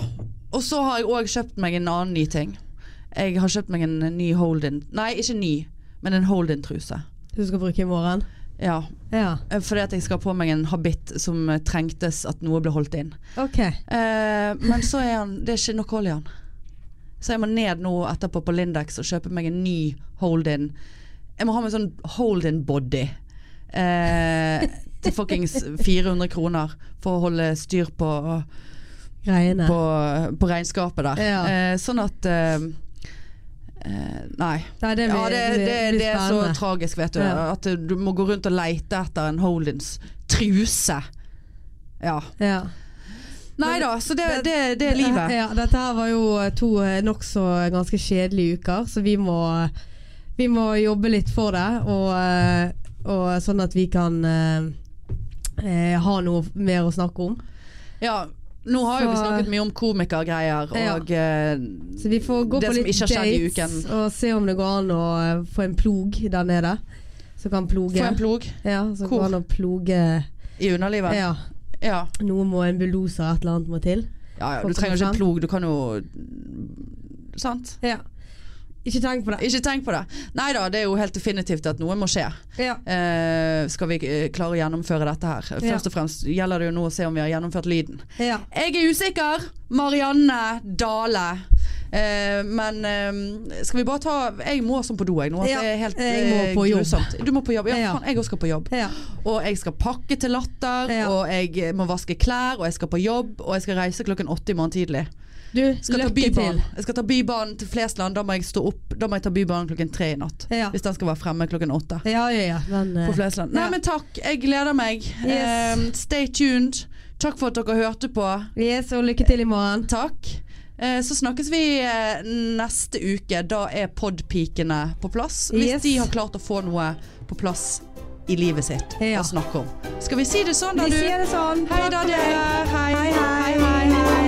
Speaker 1: Og så har jeg òg kjøpt meg en annen ny ting. Jeg har kjøpt meg en ny hold-in Nei, ikke ny, men en hold-in-truse.
Speaker 2: Du skal bruke i morgen?
Speaker 1: Ja,
Speaker 2: Ja.
Speaker 1: eh, fordi at jeg skal på meg en habit som eh, trengtes at noe ble holdt inn.
Speaker 2: Ok.
Speaker 1: Eh, men så er han Det er ikke nok hold i han. Så jeg må ned nå etterpå på Lindex og kjøpe meg en ny hold-in. Jeg må ha meg sånn hold-in-body. Eh, til fuckings 400 kroner for å holde styr på,
Speaker 2: Greiene.
Speaker 1: på, på regnskapet der.
Speaker 2: Ja.
Speaker 1: Eh, sånn at eh, eh, Nei.
Speaker 2: Nei, det blir,
Speaker 1: Ja, det, det,
Speaker 2: blir
Speaker 1: det er så
Speaker 2: spennende.
Speaker 1: tragisk, vet du.
Speaker 2: Ja.
Speaker 1: At du må gå rundt og leite etter en hold-ins truse. Ja.
Speaker 2: ja.
Speaker 1: Nei da, så det,
Speaker 2: Men-
Speaker 1: det, det er livet.
Speaker 2: Ja, dette her var jo to eh, nokså ganske kjedelige uker, så vi må, vi må jobbe litt for det. Og, eh, og sånn at vi kan eh, eh, ha noe mer å snakke om.
Speaker 1: Ja, nå har jo vi
Speaker 2: Så-
Speaker 1: snakket mye om komikergreier og eh,
Speaker 2: Så vi får gå
Speaker 1: Det
Speaker 2: på
Speaker 1: som
Speaker 2: litt
Speaker 1: ikke har skjedd i
Speaker 2: dates
Speaker 1: uken.
Speaker 2: og se om det går an å eh, få en plog der nede. Som kan ploge.
Speaker 1: få en plog
Speaker 2: ja, som
Speaker 1: Hvor?
Speaker 2: går an å ploge
Speaker 1: i underlivet. Ja.
Speaker 2: Ja,
Speaker 1: Ja.
Speaker 2: noe må en bulldoser et eller annet må til.
Speaker 1: Ja,
Speaker 2: For
Speaker 1: du
Speaker 2: å komme
Speaker 1: trenger ikke
Speaker 2: frem.
Speaker 1: plog, du kan jo Sant?
Speaker 2: Ja. Ikke tenk på det.
Speaker 1: Ikke tenk på det. Nei da, det er jo helt definitivt at noe må skje.
Speaker 2: Ja.
Speaker 1: Eh, skal vi eh, klare å gjennomføre dette her? Først
Speaker 2: Ja.
Speaker 1: og fremst gjelder det jo nå å se om vi har gjennomført lyden.
Speaker 2: ja.
Speaker 1: Jeg er usikker! Marianne Dale. Eh, men eh, skal vi bare ta Jeg må som på do, jeg nå. at
Speaker 2: Ja,
Speaker 1: Det er helt
Speaker 2: jeg må
Speaker 1: eh,
Speaker 2: på jobb.
Speaker 1: grusomt. Du må på jobb. Ja,
Speaker 2: Ja.
Speaker 1: faen, jeg òg skal på jobb.
Speaker 2: ja.
Speaker 1: Og jeg skal pakke til latter,
Speaker 2: Ja.
Speaker 1: og jeg eh, må vaske klær, og jeg skal på jobb, og jeg skal reise klokken åtte i morgen tidlig.
Speaker 2: Du,
Speaker 1: Skal ta
Speaker 2: lykke til.
Speaker 1: bybanen. Jeg skal ta bybanen til Flesland, da må jeg stå opp, da må jeg ta bybanen klokken tre i natt.
Speaker 2: Ja.
Speaker 1: Hvis den skal være fremme klokken åtte
Speaker 2: Ja, ja, ja. Den, eh,
Speaker 1: på Flesland. Nei,
Speaker 2: Ja.
Speaker 1: men takk, jeg gleder meg.
Speaker 2: Yes.
Speaker 1: Eh, stay tuned. Takk for at dere hørte på.
Speaker 2: yes, og lykke til i morgen.
Speaker 1: Takk. Eh, Så snakkes vi eh, neste uke. Da er podpikene på plass. Hvis
Speaker 2: Yes.
Speaker 1: de har klart å få noe på plass i livet sitt
Speaker 2: Ja.
Speaker 1: å snakke om. Skal vi si det sånn, da,
Speaker 2: Vi
Speaker 1: du?
Speaker 2: sier det sånn.
Speaker 1: Hei da, dere. Hei,
Speaker 2: Hei, hei, hei.